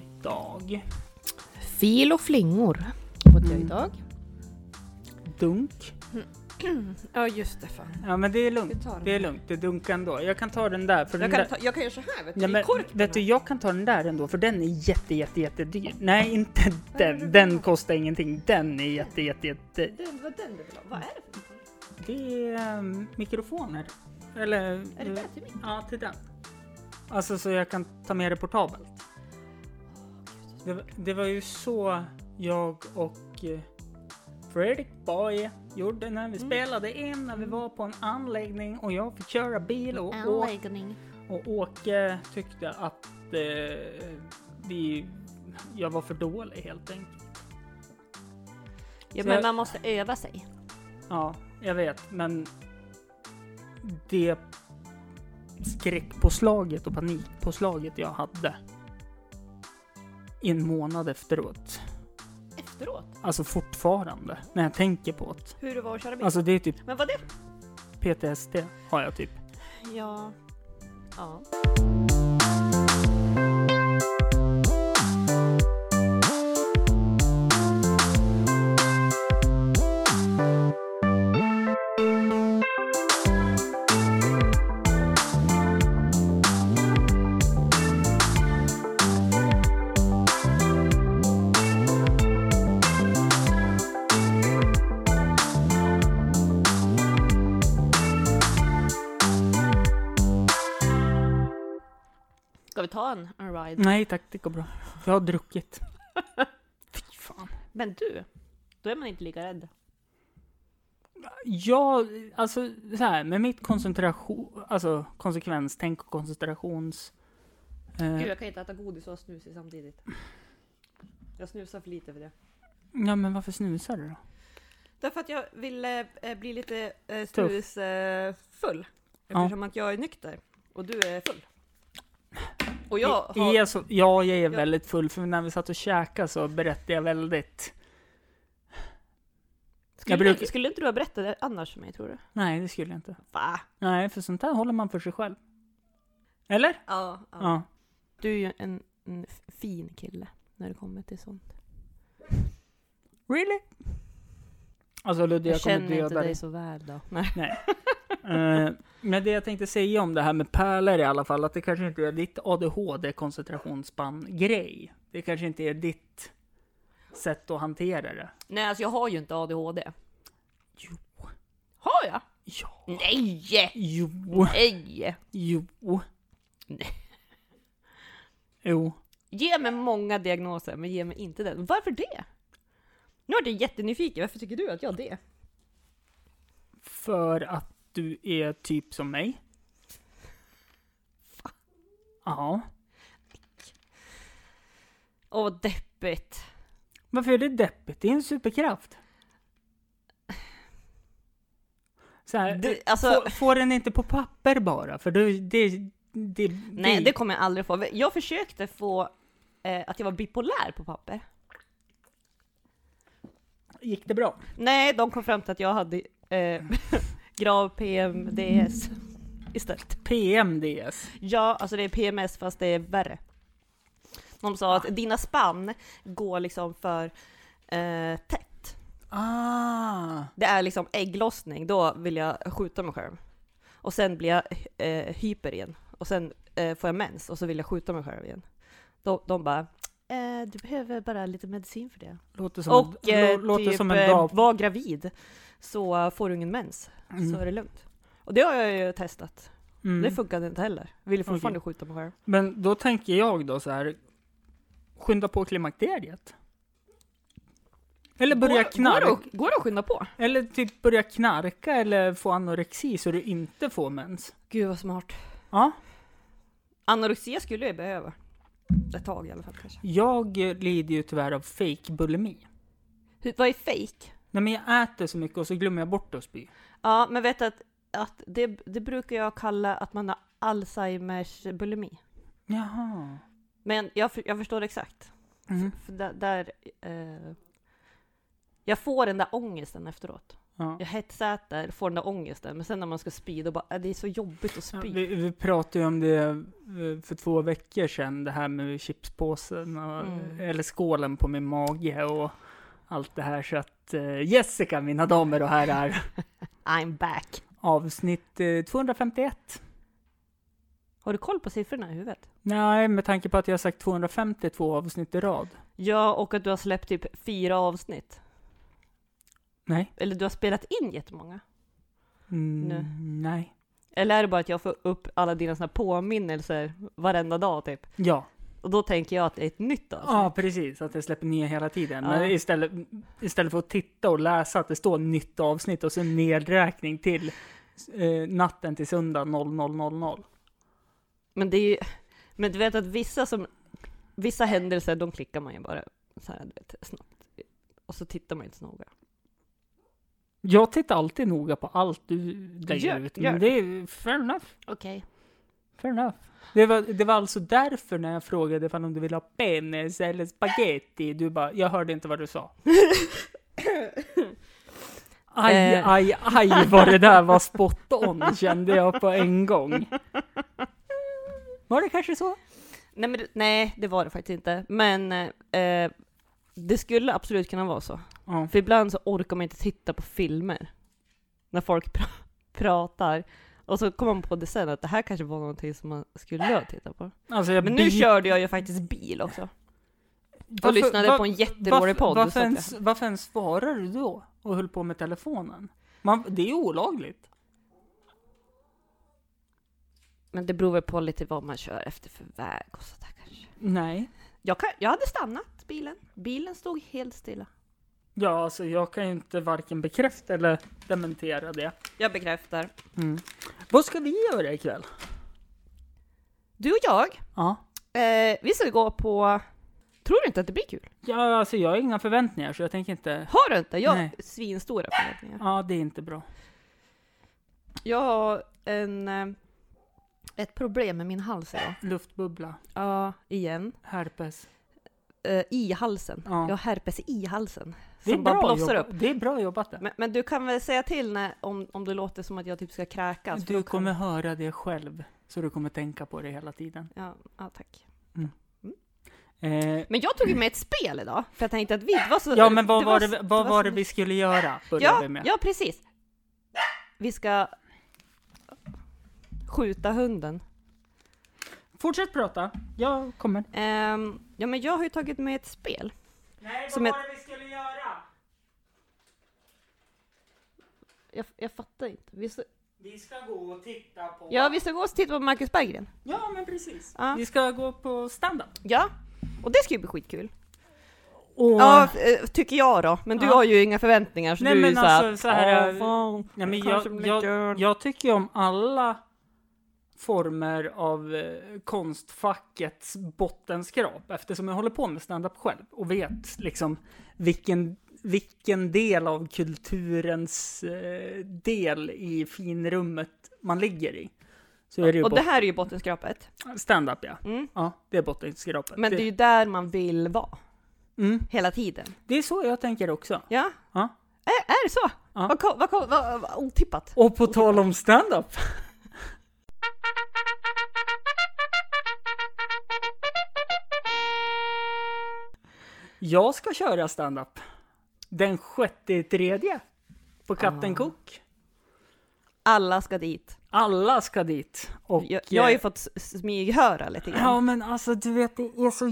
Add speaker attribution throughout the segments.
Speaker 1: idag?
Speaker 2: Fil och flingor åt jag
Speaker 1: Mm.
Speaker 2: idag.
Speaker 1: Dunk?
Speaker 3: Ja just det fan.
Speaker 1: Ja men det är lugnt.
Speaker 3: Vi tar den.
Speaker 1: Det är lugnt, det dunkar ändå. Jag kan ta den där. För
Speaker 3: Jag
Speaker 1: den
Speaker 3: kan,
Speaker 1: där...
Speaker 3: ta, jag kan göra så här vet du,
Speaker 1: Ja,
Speaker 3: i
Speaker 1: men,
Speaker 3: korken.
Speaker 1: vet du, jag kan ta den där ändå för den är jätte jätte jätte dyr. Nej inte
Speaker 3: Vad är det
Speaker 1: den,
Speaker 3: du vill
Speaker 1: den
Speaker 3: ha?
Speaker 1: kostar ingenting. Den är jätte jätte jätte...
Speaker 3: Den, vad den du vill ha? Vad är det för
Speaker 1: Det
Speaker 3: någonting?
Speaker 1: är ehm, mikrofoner. Eller... eh,
Speaker 3: Är det där till min?
Speaker 1: Ja, till den. Alltså så jag kan ta med det portabelt. Det, var- det var ju så jag och eh, Fredrik Boy gjorde när
Speaker 3: Mm.
Speaker 1: vi spelade in när vi var på en anläggning och jag fick köra bil och, å-
Speaker 2: Anläggning.
Speaker 1: och Åke tyckte att eh, vi, jag var för dålig helt enkelt.
Speaker 3: Ja,
Speaker 1: Så jag-
Speaker 3: men man måste öva sig.
Speaker 1: Ja, jag vet, men det skräckpåslaget och panikpåslaget jag hade i en månad efteråt,
Speaker 3: Efteråt?
Speaker 1: alltså fortfarande, när jag tänker på det.
Speaker 3: Hur det var att köra bil?
Speaker 1: Alltså det är typ
Speaker 3: Men vad det?
Speaker 1: PTSD har jag typ.
Speaker 3: Ja. Ja. Ska vi ta en, en ride? Mm.
Speaker 1: Nej tack, det går bra. Jag har druckit. Fy fan.
Speaker 3: Men du, då är man inte lika rädd.
Speaker 1: Jag, alltså så här, med mitt koncentration, alltså konsekvenstänk och koncentrations... Eh,
Speaker 3: Gud, jag kan inte äta godis och ha snus i samtidigt. Jag snusar för lite för det.
Speaker 1: ja men varför snusar du då?
Speaker 3: Därför att jag ville eh, bli lite eh,
Speaker 1: Tuff.
Speaker 3: snusfull. Eh, full. eftersom att jag är nykter och du är full. Och jag
Speaker 1: I-
Speaker 3: har...
Speaker 1: är så, ja, jag är
Speaker 3: Ja.
Speaker 1: väldigt full, för när vi satt och käkade så berättade jag väldigt...
Speaker 3: skulle,
Speaker 1: brukar-
Speaker 3: skulle inte du ha berättat det annars för mig tror du?
Speaker 1: Nej, det skulle jag inte.
Speaker 3: Va?
Speaker 1: Nej, för sånt här håller man för sig själv. Eller?
Speaker 3: Ja, ja.
Speaker 1: Ja.
Speaker 3: Du är ju en, en f- fin kille när det kommer till sånt.
Speaker 1: Really? Alltså Ludde,
Speaker 3: Jag,
Speaker 1: jag, kommer
Speaker 3: känner inte
Speaker 1: döda
Speaker 3: dig
Speaker 1: dig.
Speaker 3: så väl då. Nej.
Speaker 1: Eh, men det jag tänkte säga om det här med pärlor i alla fall, att det kanske inte är ditt ADHD-koncentrationsspann-grej. Det kanske inte är ditt sätt att hantera det.
Speaker 3: Nej, alltså jag har ju inte ADHD.
Speaker 1: Jo.
Speaker 3: Har jag?
Speaker 1: Ja.
Speaker 3: Nej!
Speaker 1: Jo.
Speaker 3: Nej!
Speaker 1: Jo.
Speaker 3: Nej.
Speaker 1: Jo.
Speaker 3: Ge mig många diagnoser, men ge mig inte den. Varför det? Nu vart jag jättenyfiken. Varför tycker du att jag har det?
Speaker 1: För att du är typ som mig. Ja.
Speaker 3: Åh, vad deppigt.
Speaker 1: Varför är det deppigt? Det är en superkraft. Så här,
Speaker 3: Det- alltså-
Speaker 1: få, få den inte på papper bara, för det... det, det
Speaker 3: Nej, det kommer jag aldrig få. Jag försökte få eh, att jag var bipolär på papper.
Speaker 1: Gick det bra?
Speaker 3: Nej, de kom fram till att jag hade eh, grav PMDS istället.
Speaker 1: PMDS.
Speaker 3: Ja, alltså det är PMS fast det är värre. De sa att dina spann går liksom för eh, tätt.
Speaker 1: Ah!
Speaker 3: Det är liksom ägglossning, då vill jag skjuta mig själv. Och sen blir jag eh, hyper igen. Och sen eh, får jag mens och så vill jag skjuta mig själv igen. De, de bara, eh, du behöver bara lite medicin för det.
Speaker 1: Låter som,
Speaker 3: Och
Speaker 1: en,
Speaker 3: eh,
Speaker 1: lå- låter
Speaker 3: typ,
Speaker 1: som en
Speaker 3: eh,
Speaker 1: dag...
Speaker 3: var gravid så får du ingen mens, så är det lugnt. Mm. Och det har jag ju testat.
Speaker 1: Mm.
Speaker 3: Det funkade inte heller. Ville fortfarande skjuta mig själv.
Speaker 1: Men då tänker jag då så här. Skynda på klimakteriet. Eller börja knarka.
Speaker 3: Går, det- går det att skynda på?
Speaker 1: Eller typ börja knarka eller få anorexi så du inte får mens.
Speaker 3: Gud vad smart.
Speaker 1: Ja.
Speaker 3: Anorexia skulle jag behöva. Ett tag i alla fall kanske.
Speaker 1: Jag eh, lider ju tyvärr av fake bulimi.
Speaker 3: Hur, vad är fake?
Speaker 1: Nej men jag äter så mycket och så glömmer jag bort att spy.
Speaker 3: Ja, men vet du att, att det, det brukar jag kalla att man har Alzheimers bulimi.
Speaker 1: Jaha.
Speaker 3: Men jag, för, jag förstår exakt.
Speaker 1: Mm.
Speaker 3: För där, där eh, jag får den där ångesten efteråt.
Speaker 1: Ja.
Speaker 3: Jag hetsäter, får den där ångesten, men sen när man ska spy då bara, "Äh, det är så jobbigt att
Speaker 1: Ja,
Speaker 3: spy.
Speaker 1: vi, vi pratade ju om det eh, för två veckor sedan, det här med chipspåsen och,
Speaker 3: Mm.
Speaker 1: eller skålen på min mage och allt det här. Så att eh, Jessica, mina damer och herrar,
Speaker 3: I'm back.
Speaker 1: avsnitt eh, 251.
Speaker 3: Har du koll på siffrorna i huvudet?
Speaker 1: Nej, med tanke på att jag har sagt 252 avsnitt i rad.
Speaker 3: Ja, och att du har släppt typ fyra avsnitt.
Speaker 1: Nej.
Speaker 3: Eller du har spelat in jättemånga.
Speaker 1: Mm,
Speaker 3: Nu.
Speaker 1: Nej.
Speaker 3: Eller är det bara att jag får upp alla dina såna här påminnelser varenda dag typ?
Speaker 1: Ja,
Speaker 3: Och då tänker jag att det är ett nytt avsnitt.
Speaker 1: ja precis. Att jag släpper nya hela tiden.
Speaker 3: Ja.
Speaker 1: Men istället, istället för att titta och läsa att det står nytt avsnitt och sen nedräkning till eh, natten till söndag 00.00.
Speaker 3: Men det är ju, men du vet att vissa som, vissa händelser, de klickar man ju bara så här, du vet, snabbt. Och så tittar man inte så noga.
Speaker 1: Jag tittar alltid noga på allt du lägger
Speaker 3: Gör-
Speaker 1: ut.
Speaker 3: gör.
Speaker 1: Men det är fair enough.
Speaker 3: Okej.
Speaker 1: Fair enough. Det var, det var alltså därför när jag frågade ifall om du ville ha penis eller spaghetti. Du bara, jag hörde inte vad du sa. Aj,
Speaker 3: Eh.
Speaker 1: aj, aj vad det där var spot on kände jag på en gång. Var det kanske så?
Speaker 3: Nej, men, det- nej, det var det faktiskt inte. Men eh, det skulle absolut kunna vara så.
Speaker 1: Ja.
Speaker 3: För ibland så orkar man inte titta på filmer. När folk pra- pratar. Och så kommer man på det sen, att det här kanske var någonting som man skulle ha tittat på.
Speaker 1: Alltså jag
Speaker 3: Men nu
Speaker 1: byter-
Speaker 3: körde jag ju faktiskt bil också. Och
Speaker 1: Varför-
Speaker 3: lyssnade
Speaker 1: va-
Speaker 3: på en jätterolig podd. så
Speaker 1: Varför
Speaker 3: att jag-
Speaker 1: ens, varför ens svarar du då? Och höll på med telefonen? Man, det är olagligt.
Speaker 3: Men det beror väl på lite vad man kör efter för väg och sådär kanske.
Speaker 1: Nej.
Speaker 3: Jag, kan, jag hade stannat bilen. Bilen stod helt stilla.
Speaker 1: Ja, alltså jag kan ju inte varken bekräfta eller dementera det.
Speaker 3: Jag bekräftar.
Speaker 1: Vad ska vi göra ikväll?
Speaker 3: Du och jag,
Speaker 1: Ja.
Speaker 3: eh, vi ska gå på... Tror du inte att det blir kul?
Speaker 1: ja, alltså jag har inga förväntningar så jag tänker inte...
Speaker 3: Har du inte? Jag har
Speaker 1: Nej.
Speaker 3: svinstora förväntningar.
Speaker 1: Ja, det är inte bra.
Speaker 3: Jag har en, eh, ett problem med min hals idag.
Speaker 1: Luftbubbla,
Speaker 3: Ja, igen.
Speaker 1: herpes.
Speaker 3: Eh, I halsen.
Speaker 1: Ja.
Speaker 3: Jag har herpes i halsen.
Speaker 1: Det är,
Speaker 3: Som bara
Speaker 1: bra
Speaker 3: blossar
Speaker 1: jobbat.
Speaker 3: upp.
Speaker 1: det är bra jobbat där.
Speaker 3: Men, men du kan väl säga till när, om, om det låter som att jag typ ska kräkas? för
Speaker 1: Du
Speaker 3: då kan-
Speaker 1: kommer höra det själv. Så du kommer tänka på det hela tiden.
Speaker 3: Ja, ja, tack.
Speaker 1: Eh,
Speaker 3: Men jag tog ju med ett spel idag, för jag tänkte att vi det var så...
Speaker 1: ja, men vad var,
Speaker 3: så-
Speaker 1: det, vad
Speaker 3: så-
Speaker 1: var det vi skulle göra? Började
Speaker 3: ja,
Speaker 1: vi med.
Speaker 3: ja, precis. Vi ska skjuta hunden.
Speaker 1: Fortsätt prata. Jag kommer.
Speaker 3: Ehm, ja, men jag har ju tagit med ett spel.
Speaker 1: Nej,
Speaker 3: Som var ett-
Speaker 1: det vi skulle göra?
Speaker 3: Jag, jag fattar inte. Vi ska,
Speaker 1: Vi ska gå och titta på...
Speaker 3: ja, vi ska gå och titta på Marcus Berggren.
Speaker 1: ja men precis.
Speaker 3: Ja.
Speaker 1: Vi ska gå på stand-up.
Speaker 3: Ja, och det ska ju bli skitkul.
Speaker 1: Och...
Speaker 3: Ja, eh, tycker jag då. Men du
Speaker 1: Ja.
Speaker 3: har ju inga förväntningar, så
Speaker 1: Nej,
Speaker 3: du är
Speaker 1: men
Speaker 3: ju
Speaker 1: alltså, så
Speaker 3: så
Speaker 1: här,
Speaker 3: "Åh, fan,
Speaker 1: Nej, men
Speaker 3: kanske
Speaker 1: jag,
Speaker 3: blir
Speaker 1: jag,
Speaker 3: kul."
Speaker 1: jag tycker ju om alla former av eh, konstfackets bottenskrap eftersom jag håller på med stand-up själv och vet liksom vilken, vilken del av kulturens eh, del i finrummet man ligger i. Så är det ju
Speaker 3: Och det
Speaker 1: bot-
Speaker 3: här är ju bottenskrapet.
Speaker 1: stand-up ja.
Speaker 3: Mm.
Speaker 1: Ja, det är bottenskrapet.
Speaker 3: Men det är ju där man vill vara,
Speaker 1: mm,
Speaker 3: hela tiden.
Speaker 1: det är så jag tänker också.
Speaker 3: Ja.
Speaker 1: Ja.
Speaker 3: Är, är det så?
Speaker 1: Ja.
Speaker 3: Vad, ko- vad, ko- vad, vad otippat.
Speaker 1: Och på tal om stand-up. Jag ska köra stand-up. Den sjätte i tredje. På Katten
Speaker 3: Ah.
Speaker 1: Cook.
Speaker 3: Alla ska dit.
Speaker 1: Alla ska dit. Och,
Speaker 3: Jag, jag har ju
Speaker 1: eh,
Speaker 3: fått s- smyghöra lite grann.
Speaker 1: Ja men alltså du vet det är så...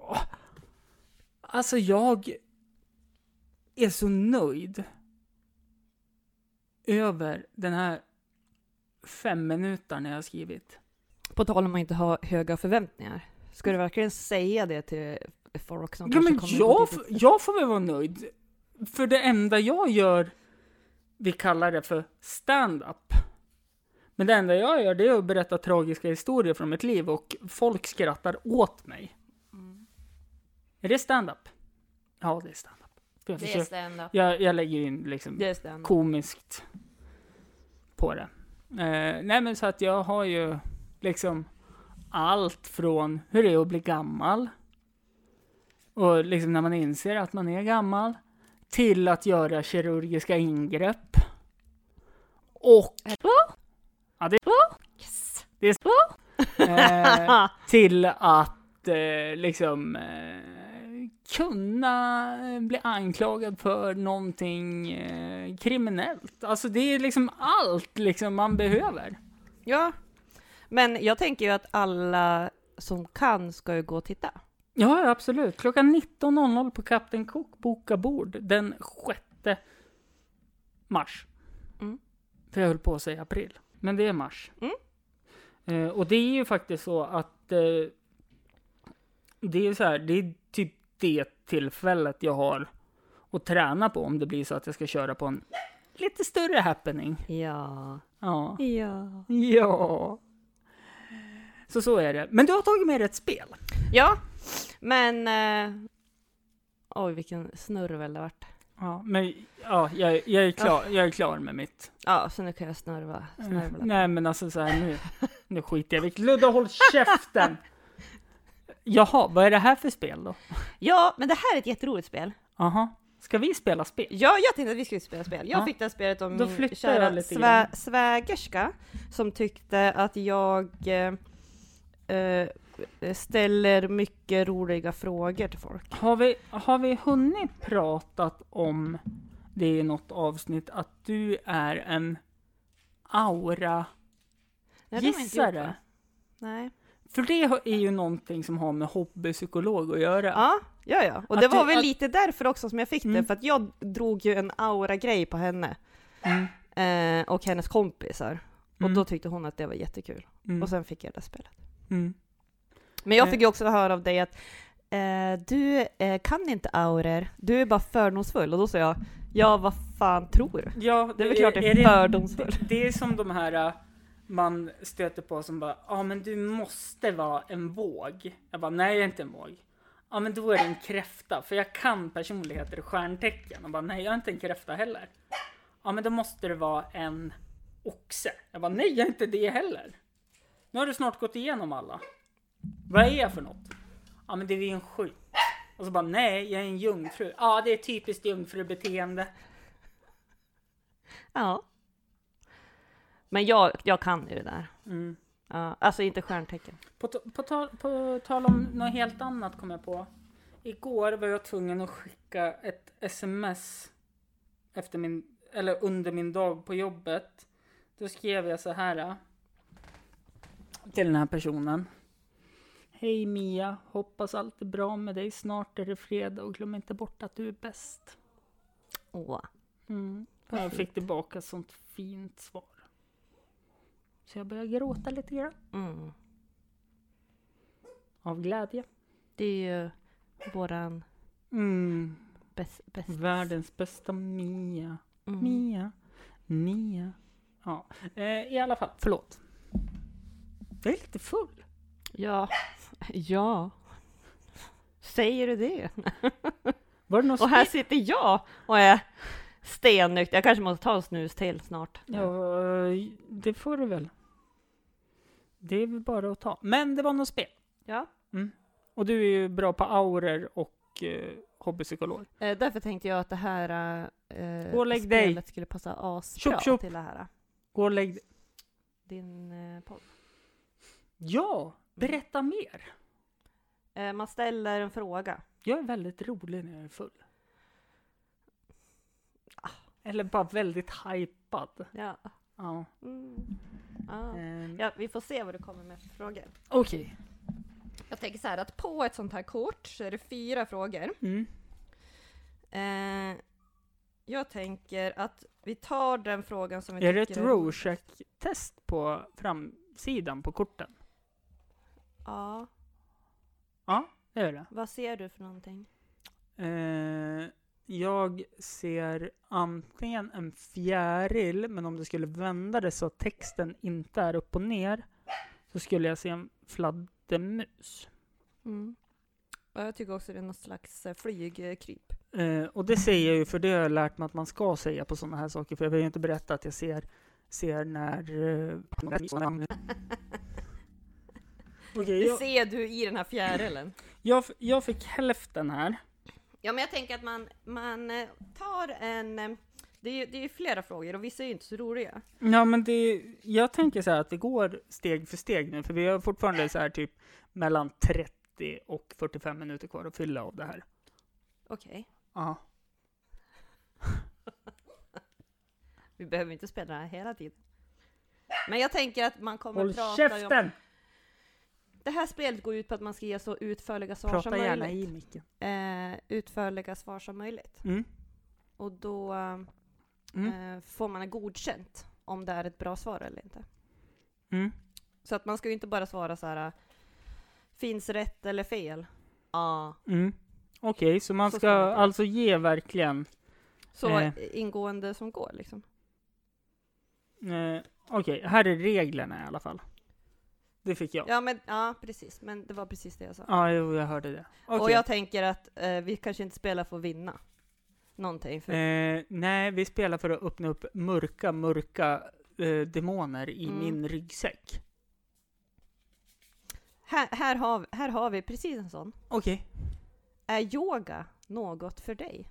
Speaker 1: Åh. Alltså jag är så nöjd över den här fem minuter jag har skrivit.
Speaker 3: På tal om att inte ha höga förväntningar. Ska du verkligen säga det till folk som
Speaker 1: Ja,
Speaker 3: kanske
Speaker 1: men
Speaker 3: kommer
Speaker 1: jag,
Speaker 3: på
Speaker 1: f-
Speaker 3: ditt-
Speaker 1: jag får väl vara nöjd. För det enda jag gör, vi kallar det för stand-up. Men det enda jag gör det är att berätta tragiska historier från mitt liv och folk skrattar åt mig. Är det stand-up? Ja, det är stand-up. För Jag, försöker,
Speaker 3: stand-up.
Speaker 1: jag, jag lägger in liksom
Speaker 3: Det är stand-up.
Speaker 1: komiskt på det. Eh, nej men så att jag har ju liksom allt från hur det är att bli gammal och liksom när man inser att man är gammal till att göra kirurgiska ingrepp. Och
Speaker 3: Yes.
Speaker 1: eh,
Speaker 3: Ah,
Speaker 1: till att eh, liksom eh, kunna eh, bli anklagad för någonting eh, kriminellt. Alltså det är liksom allt liksom man behöver.
Speaker 3: ja. Men jag tänker ju att alla som kan ska ju gå och titta.
Speaker 1: Ja, ja, absolut. Klockan 19.00 på Kapten Cook boka bord den 6 mars.
Speaker 3: Mm.
Speaker 1: För jag höll på att säga april, men det är mars.
Speaker 3: Mm.
Speaker 1: Eh, och det är ju faktiskt så att eh, det är så här, det är typ det tillfället jag har att träna på om det blir så att jag ska köra på en lite större happening.
Speaker 3: Ja.
Speaker 1: Ja.
Speaker 3: Ja.
Speaker 1: Ja. Så så är det. Men du har tagit med dig ett spel.
Speaker 3: Ja, men... Eh, oj, vilken snurvel det vart.
Speaker 1: Ja, men ja, jag, jag, är, klar, jag är klar med mitt.
Speaker 3: Ja, så nu kan jag snurva. snörvla.
Speaker 1: Nej, men alltså så här nu, nu skiter jag i vilket- Ludde, håll käften! Jaha, vad är det här för spel då?
Speaker 3: Ja, men det här är ett jätteroligt spel.
Speaker 1: Aha. ska vi spela spel?
Speaker 3: Ja, jag tänkte att vi skulle spela spel. Jag
Speaker 1: Ja.
Speaker 3: fick det här spelet om
Speaker 1: Då
Speaker 3: min
Speaker 1: flyttar
Speaker 3: kära
Speaker 1: jag lite grann.
Speaker 3: svä- svägerska som tyckte att jag eh, eh, ställer mycket roliga frågor till folk.
Speaker 1: Har vi, har vi hunnit pratat om det i något avsnitt att du är en aura
Speaker 3: Nej, det har jag inte gjort, va?
Speaker 1: gissare?
Speaker 3: Nej.
Speaker 1: För det har- är ju någonting som har med hobbypsykolog att göra.
Speaker 3: Ja, ja, ja. Och
Speaker 1: Att
Speaker 3: det
Speaker 1: du-
Speaker 3: var väl
Speaker 1: att-
Speaker 3: lite därför också som jag fick det,
Speaker 1: Mm.
Speaker 3: för att jag drog ju en aura-grej på henne
Speaker 1: Mm.
Speaker 3: eh, och hennes kompisar. Och
Speaker 1: Mm.
Speaker 3: då tyckte hon att det var jättekul.
Speaker 1: Mm.
Speaker 3: Och sen fick jag det här spelet.
Speaker 1: Mm.
Speaker 3: Men jag
Speaker 1: Eh.
Speaker 3: fick ju också höra av dig att eh, du eh, kan inte auror, du är bara fördomsfull. Och då sa jag, ja vad fan tror du?
Speaker 1: Ja,
Speaker 3: Det är väl klart det är fördomsfull.
Speaker 1: Det, det är som de här äh, man stöter på som bara, ja ah, men du måste vara en våg. Jag bara, nej jag är inte en våg. Ja ah, men då är det en kräfta, för jag kan personligheter och stjärntecken. Och bara, nej jag är inte en kräfta heller. Ja ah, men då måste det vara en oxe. Jag bara, nej jag är inte det heller. Nu har du snart gått igenom alla. Vad är jag för något? Ja ah, men det är en skytt. Och så bara, nej jag är en jungfru. Ja ah, det är typiskt jungfrubeteende.
Speaker 3: Ja. Men jag, jag kan ju det där.
Speaker 1: Mm.
Speaker 3: Ja, alltså inte stjärntecken.
Speaker 1: På, t- på, tal, på tal om något helt annat kom jag på. Igår var jag tvungen att skicka ett sms efter min, eller under min dag på jobbet. Då skrev jag så här. äh, Till den här personen. Hej Mia, hoppas allt är bra med dig. Snart är det fredag och glöm inte bort att du är bäst.
Speaker 3: Åh.
Speaker 1: Mm. Jag fick tillbaka ett sånt fint svar. Så jag började gråta lite grann.
Speaker 3: Mm.
Speaker 1: Av glädje.
Speaker 3: Det är ju våran
Speaker 1: Mm.
Speaker 3: bäst... bäst.
Speaker 1: Världens bästa Mia.
Speaker 3: Mm.
Speaker 1: Mia. Mia. Ja, eh, i alla fall. Förlåt. Jag är lite full.
Speaker 3: Ja. Ja. Säger du det?
Speaker 1: Var det något
Speaker 3: Och här sitter jag och är stennykter. Jag kanske måste ta en snus till snart.
Speaker 1: spe- Ja, eh, det får du väl. Det är väl bara att ta. Men det var något spel. Mm.
Speaker 3: Ja.
Speaker 1: Och du är ju bra på auror och eh, hobbypsykolog.
Speaker 3: Eh, därför tänkte jag att det här eh,
Speaker 1: Ålägg dig.
Speaker 3: spelet skulle passa asbra
Speaker 1: Tjopp, tjopp.
Speaker 3: till det här.
Speaker 1: Gå och lägg dig.
Speaker 3: Din eh, podd.
Speaker 1: Ja, berätta mer.
Speaker 3: Eh, man ställer en fråga.
Speaker 1: Jag är väldigt rolig när jag är full.
Speaker 3: Ah.
Speaker 1: Eller bara väldigt hypad.
Speaker 3: Ja.
Speaker 1: Ja.
Speaker 3: Mm. Ah.
Speaker 1: Ehm,
Speaker 3: ja. Vi får se vad du kommer med för frågor.
Speaker 1: Okej.
Speaker 3: Jag tänker så här att på ett sånt här kort så är det fyra frågor.
Speaker 1: Mm.
Speaker 3: Eh, jag tänker att vi tar den frågan som vi
Speaker 1: Är det ett
Speaker 3: tycker rolig.
Speaker 1: Rorschach-test på framsidan på korten?
Speaker 3: Ja.
Speaker 1: Det är det.
Speaker 3: Vad ser du för någonting?
Speaker 1: Eh, jag ser antingen en fjäril, men om du skulle vända det så att texten inte är upp och ner, så skulle jag se en fladdermus.
Speaker 3: Mm. Ja, jag tycker också det är någon slags eh, flygkryp.
Speaker 1: Eh, och det säger jag ju, för det har jag lärt mig att man ska säga på sådana här saker, för jag vill ju inte berätta att jag ser, ser när... Eh, Okej,
Speaker 3: Det
Speaker 1: jag,
Speaker 3: ser du i den här fjärilen.
Speaker 1: jag, f- jag fick hälften här.
Speaker 3: Ja, men jag tänker att man, man eh, tar en... eh, Det är ju det är ju flera frågor och vissa är ju inte så roliga.
Speaker 1: Ja, men det, jag tänker så här att det går steg för steg nu, för vi har fortfarande så här typ mellan 30 och 45 minuter kvar att fylla av det här.
Speaker 3: Okej,
Speaker 1: Ja.
Speaker 3: vi behöver inte spela den här hela tiden. Men jag tänker att man kommer
Speaker 1: Håll
Speaker 3: prata om...
Speaker 1: käften!
Speaker 3: Det här spelet går ut på att man ska ge så utförliga svar som
Speaker 1: Prata gärna
Speaker 3: möjligt.
Speaker 1: i micken.
Speaker 3: Eh, utförliga svar som möjligt.
Speaker 1: Mm.
Speaker 3: Och då eh,
Speaker 1: Mm.
Speaker 3: får man godkänt om det är ett bra svar eller inte.
Speaker 1: Mm.
Speaker 3: Så att man ska ju inte bara svara så här eh, finns rätt eller fel? Ja.
Speaker 1: Mm. Okej, så man
Speaker 3: Så
Speaker 1: ska,
Speaker 3: ska man göra.
Speaker 1: alltså ge verkligen...
Speaker 3: Så
Speaker 1: Eh.
Speaker 3: ingående som går liksom.
Speaker 1: Eh, Okej, här är reglerna i alla fall. Det fick jag. Ja,
Speaker 3: Ja, men, ja precis. Men det var precis det jag sa.
Speaker 1: jo, jag hörde det.
Speaker 3: Och
Speaker 1: Okej.
Speaker 3: jag tänker att eh, vi kanske inte spelar för att vinna. Någonting. För,
Speaker 1: Eh, nej, vi spelar för att öppna upp mörka, mörka eh, demoner i
Speaker 3: Mm.
Speaker 1: min ryggsäck.
Speaker 3: här, här, har, här har vi precis en sån.
Speaker 1: Okej.
Speaker 3: Är yoga något för dig?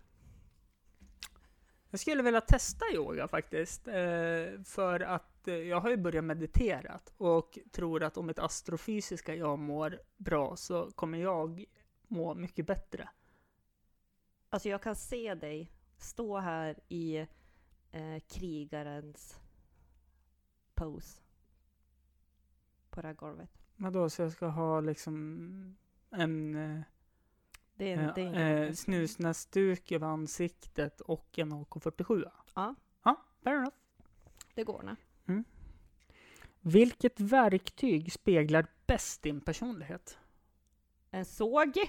Speaker 1: Jag skulle vilja testa yoga faktiskt. Eh, för att eh, jag har ju börjat meditera och tror att om mitt astrofysiska jag mår bra så kommer jag må mycket bättre.
Speaker 3: Alltså jag kan se dig stå här i eh, krigarens pose. På det här golvet.
Speaker 1: Men då så jag ska ha liksom en, eh,
Speaker 3: Det är en, det är
Speaker 1: eh,
Speaker 3: en krigare.
Speaker 1: snusnäsduk över ansiktet och en AK47.
Speaker 3: Ja.
Speaker 1: Ja, fair enough.
Speaker 3: Det går nu.
Speaker 1: Vilket verktyg speglar bäst din personlighet?
Speaker 3: En såg.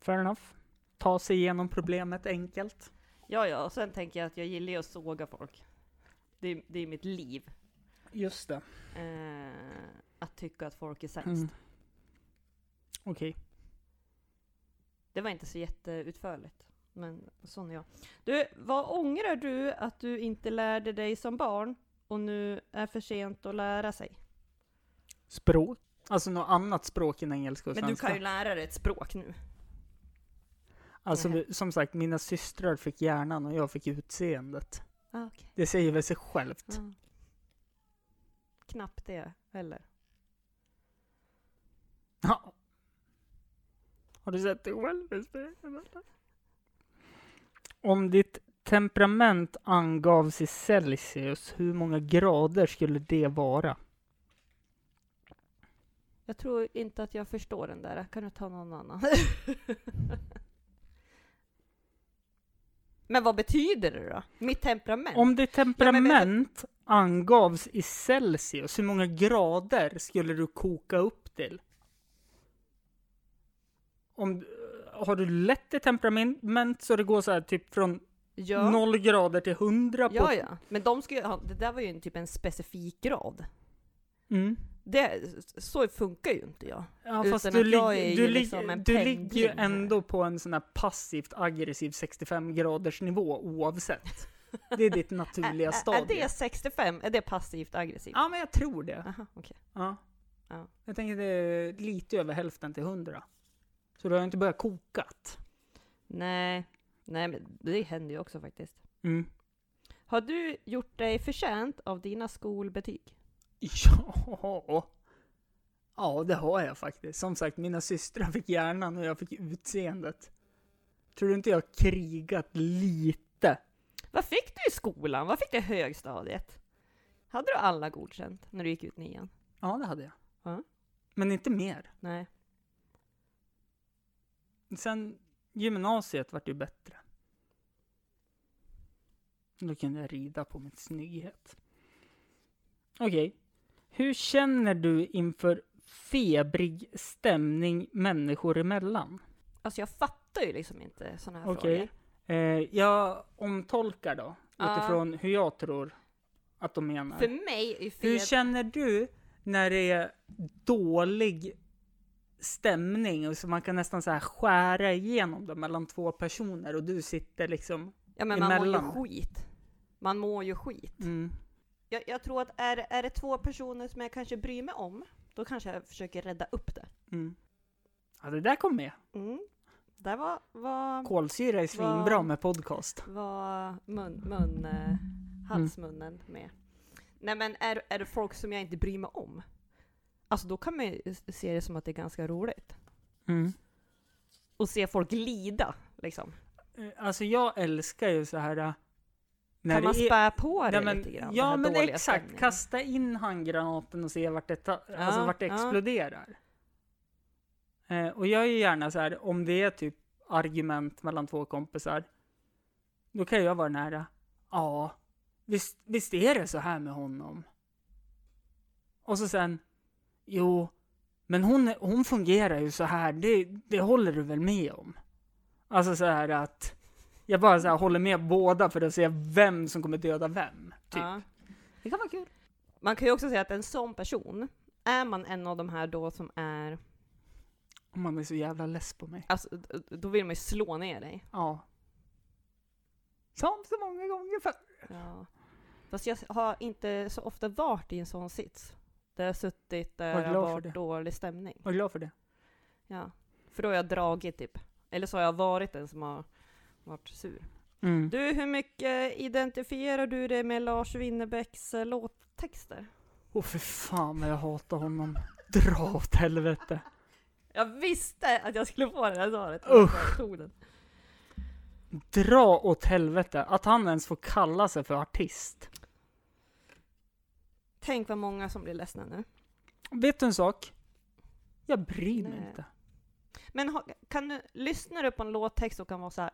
Speaker 1: Fair enough. Ta sig igenom problemet enkelt.
Speaker 3: Ja, ja, och sen tänker jag att jag gillar ju att såga folk. Det är, det är mitt liv.
Speaker 1: Just det.
Speaker 3: Eh, att tycka att folk är sämst.
Speaker 1: Mm. Okej.
Speaker 3: Det var inte så jätteutförligt. Men sån är jag. Du, vad ångrar du att du inte lärde dig som barn och nu är för sent att lära sig?
Speaker 1: Språk? Alltså något annat språk än engelska och
Speaker 3: Men du
Speaker 1: svenska?
Speaker 3: kan ju lära dig ett språk nu.
Speaker 1: Alltså
Speaker 3: Nähä.
Speaker 1: vi- som sagt, mina systrar fick hjärnan och jag fick utseendet.
Speaker 3: Ah, Mm. okay.
Speaker 1: Det säger väl sig självt.
Speaker 3: Ja. Knappt det heller.
Speaker 1: Ja. Har du sett dig själv i spegeln? eller? Om ditt temperament angavs i Celsius, hur många grader skulle det vara?
Speaker 3: Jag tror inte att jag förstår den där. Kan du ta någon annan? Men vad betyder det då? Mitt temperament?
Speaker 1: Om ditt
Speaker 3: men vänta.
Speaker 1: temperament angavs i Celsius, hur många grader skulle du koka upp till? Om, har du lätt i temperament så det går så här typ från
Speaker 3: ja.
Speaker 1: 0 grader till 100 på...
Speaker 3: ja, ja. Men de ska ju ha, det där var ju en, typ en specifik grad.
Speaker 1: Mm.
Speaker 3: Det, så funkar ju inte jag.
Speaker 1: Ja,
Speaker 3: Utan
Speaker 1: fast
Speaker 3: att
Speaker 1: du, lig-
Speaker 3: jag är ju
Speaker 1: du,
Speaker 3: liksom en
Speaker 1: lig- du
Speaker 3: pendling
Speaker 1: ligger ju
Speaker 3: här.
Speaker 1: ändå på en sån här passivt aggressiv 65 graders nivå oavsett. Det är ditt naturliga
Speaker 3: Ä- ä- är
Speaker 1: stadie.
Speaker 3: det 65? Är det passivt aggressivt?
Speaker 1: Ja, men jag tror det.
Speaker 3: Aha, okej.
Speaker 1: Ja.
Speaker 3: Ja.
Speaker 1: Jag tänker det är lite över hälften till 100. Så du har ju inte börjat kokat.
Speaker 3: Nej. Nej, men det händer ju också faktiskt.
Speaker 1: Mm.
Speaker 3: Har du gjort dig förtjänt av dina skolbetyg?
Speaker 1: Ja. ja, det har jag faktiskt. Som sagt, mina systrar fick hjärnan och jag fick utseendet. Tror du inte jag har krigat lite?
Speaker 3: Vad fick du i skolan? Vad fick du i högstadiet? Hade du alla godkänt när du gick ut nian?
Speaker 1: Ja, det hade jag.
Speaker 3: Ja.
Speaker 1: Men inte mer.
Speaker 3: Nej.
Speaker 1: Sen gymnasiet vart ju bättre. Då kunde jag rida på min snygghet. Okej. Hur känner du inför febrig stämning människor emellan?
Speaker 3: Alltså jag fattar ju liksom inte sådana här
Speaker 1: Okej.
Speaker 3: frågor.
Speaker 1: Eh, jag omtolkar då
Speaker 3: Ja.
Speaker 1: utifrån hur jag tror att de menar.
Speaker 3: För mig är ju
Speaker 1: Hur
Speaker 3: fel...
Speaker 1: känner du när det är dålig stämning och så man kan nästan så här skära igenom det mellan två personer och du sitter liksom...
Speaker 3: Ja men man
Speaker 1: emellan?
Speaker 3: mår ju skit. Man mår ju skit.
Speaker 1: Mm.
Speaker 3: Jag, jag tror att är, är det två personer som jag kanske bryr mig om, då kanske jag försöker rädda upp det.
Speaker 1: Mm. Ja, det där kom med.
Speaker 3: Mm. Där var, var,
Speaker 1: Kolsyra är svinbra med podcast.
Speaker 3: var mun, mun, eh, halsmunnen med. Nej men är, är det folk som jag inte bryr mig om? Alltså då kan man ju se det som att det är ganska roligt.
Speaker 1: Mm.
Speaker 3: Och se folk lida liksom.
Speaker 1: Eh, Alltså jag älskar ju så här... eh, När
Speaker 3: kan man
Speaker 1: det är-
Speaker 3: spä på det
Speaker 1: Nej, men,
Speaker 3: lite grann? den
Speaker 1: Ja
Speaker 3: här
Speaker 1: men
Speaker 3: dåliga
Speaker 1: exakt,
Speaker 3: stämningen?
Speaker 1: kasta in handgranaten och se vart det, ta, alltså
Speaker 3: Ja,
Speaker 1: vart det
Speaker 3: ja.
Speaker 1: exploderar. Eh, och jag är ju gärna så här, om det är typ argument mellan två kompisar, då kan jag vara nära. Ja, visst, visst är det så här med honom? Och så sen, jo, men hon, är- hon fungerar ju så här, det, det håller du väl med om? Alltså så här att, jag bara så här håller med båda för att se vem som kommer döda vem. Typ.
Speaker 3: Ja.
Speaker 1: Det kan vara kul.
Speaker 3: Man kan ju också säga att en sån person, är man en av de här då som är,
Speaker 1: Om man är så jävla less på mig.
Speaker 3: alltså, d- då vill man ju slå ner dig.
Speaker 1: Ja. Som så många gånger förr.
Speaker 3: Ja. Fast jag har inte så ofta varit i en sån sits. Där jag har suttit där
Speaker 1: Var
Speaker 3: det har
Speaker 1: glad för det.
Speaker 3: varit dålig stämning.
Speaker 1: Var glad för det.
Speaker 3: Ja. För då har jag dragit typ. Eller så har jag varit den som har varit sur.
Speaker 1: Mm.
Speaker 3: Du, hur mycket identifierar du dig med Lars Winnerbäcks eh, låttexter?
Speaker 1: Åh för fan vad jag hatar honom. Dra åt helvete.
Speaker 3: Jag visste att jag skulle få det här svaret.
Speaker 1: Usch.
Speaker 3: Jag tog den.
Speaker 1: Dra åt helvete. Att han ens får kalla sig för artist.
Speaker 3: Tänk vad många som blir ledsna nu.
Speaker 1: Vet du en sak? Jag bryr mig
Speaker 3: Nej.
Speaker 1: inte.
Speaker 3: Men ha, kan du, lyssnar du på en låttext och kan vara så här.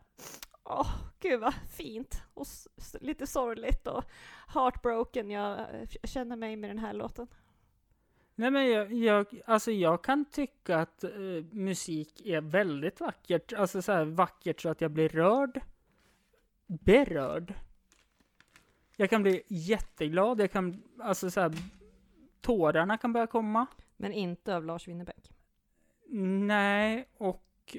Speaker 3: Åh, gud vad fint och s- s- lite sorgligt och heartbroken. Jag eh, k- känner mig med den här låten.
Speaker 1: Nej men jag, jag, alltså jag kan tycka att eh, musik är väldigt vackert. Alltså så här vackert så att jag blir rörd. Berörd. Jag kan bli jätteglad, jag kan, alltså så här, tårarna kan börja komma.
Speaker 3: Men inte av Lars Winnerbäck.
Speaker 1: Nej, och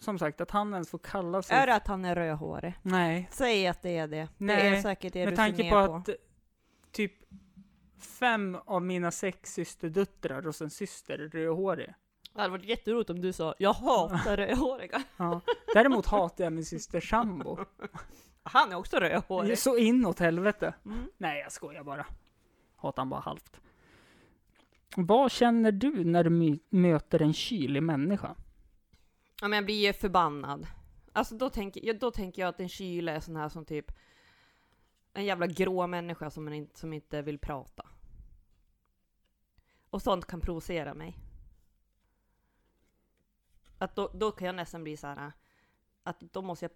Speaker 1: som sagt att han ens får kalla sig...
Speaker 3: Är det att han är rödhårig?
Speaker 1: Nej,
Speaker 3: Säg att det är det. det
Speaker 1: Nej,
Speaker 3: är säkert det
Speaker 1: med
Speaker 3: du ser
Speaker 1: tanke
Speaker 3: ner
Speaker 1: på
Speaker 3: på.
Speaker 1: att eh, typ fem av mina sex systerdöttrar och sen syster är rödhårig.
Speaker 3: Det hade varit jätteroligt om du sa jag hatar rödhåriga.
Speaker 1: Ja. Däremot hatar jag min syster sambo.
Speaker 3: Han är också rödhårig.
Speaker 1: Så inåt helvete.
Speaker 3: Mm.
Speaker 1: Nej, jag skojar bara. Hatar han bara halvt. Vad känner du när du my- möter en kylig människa?
Speaker 3: Ja, men jag blir ju förbannad. Alltså då tänker, ja, då tänker jag att en kyla är sån här som typ en jävla grå människa som, man inte, som inte vill prata. Och sånt kan provocera mig. Att då, då kan jag nästan bli så här att då måste jag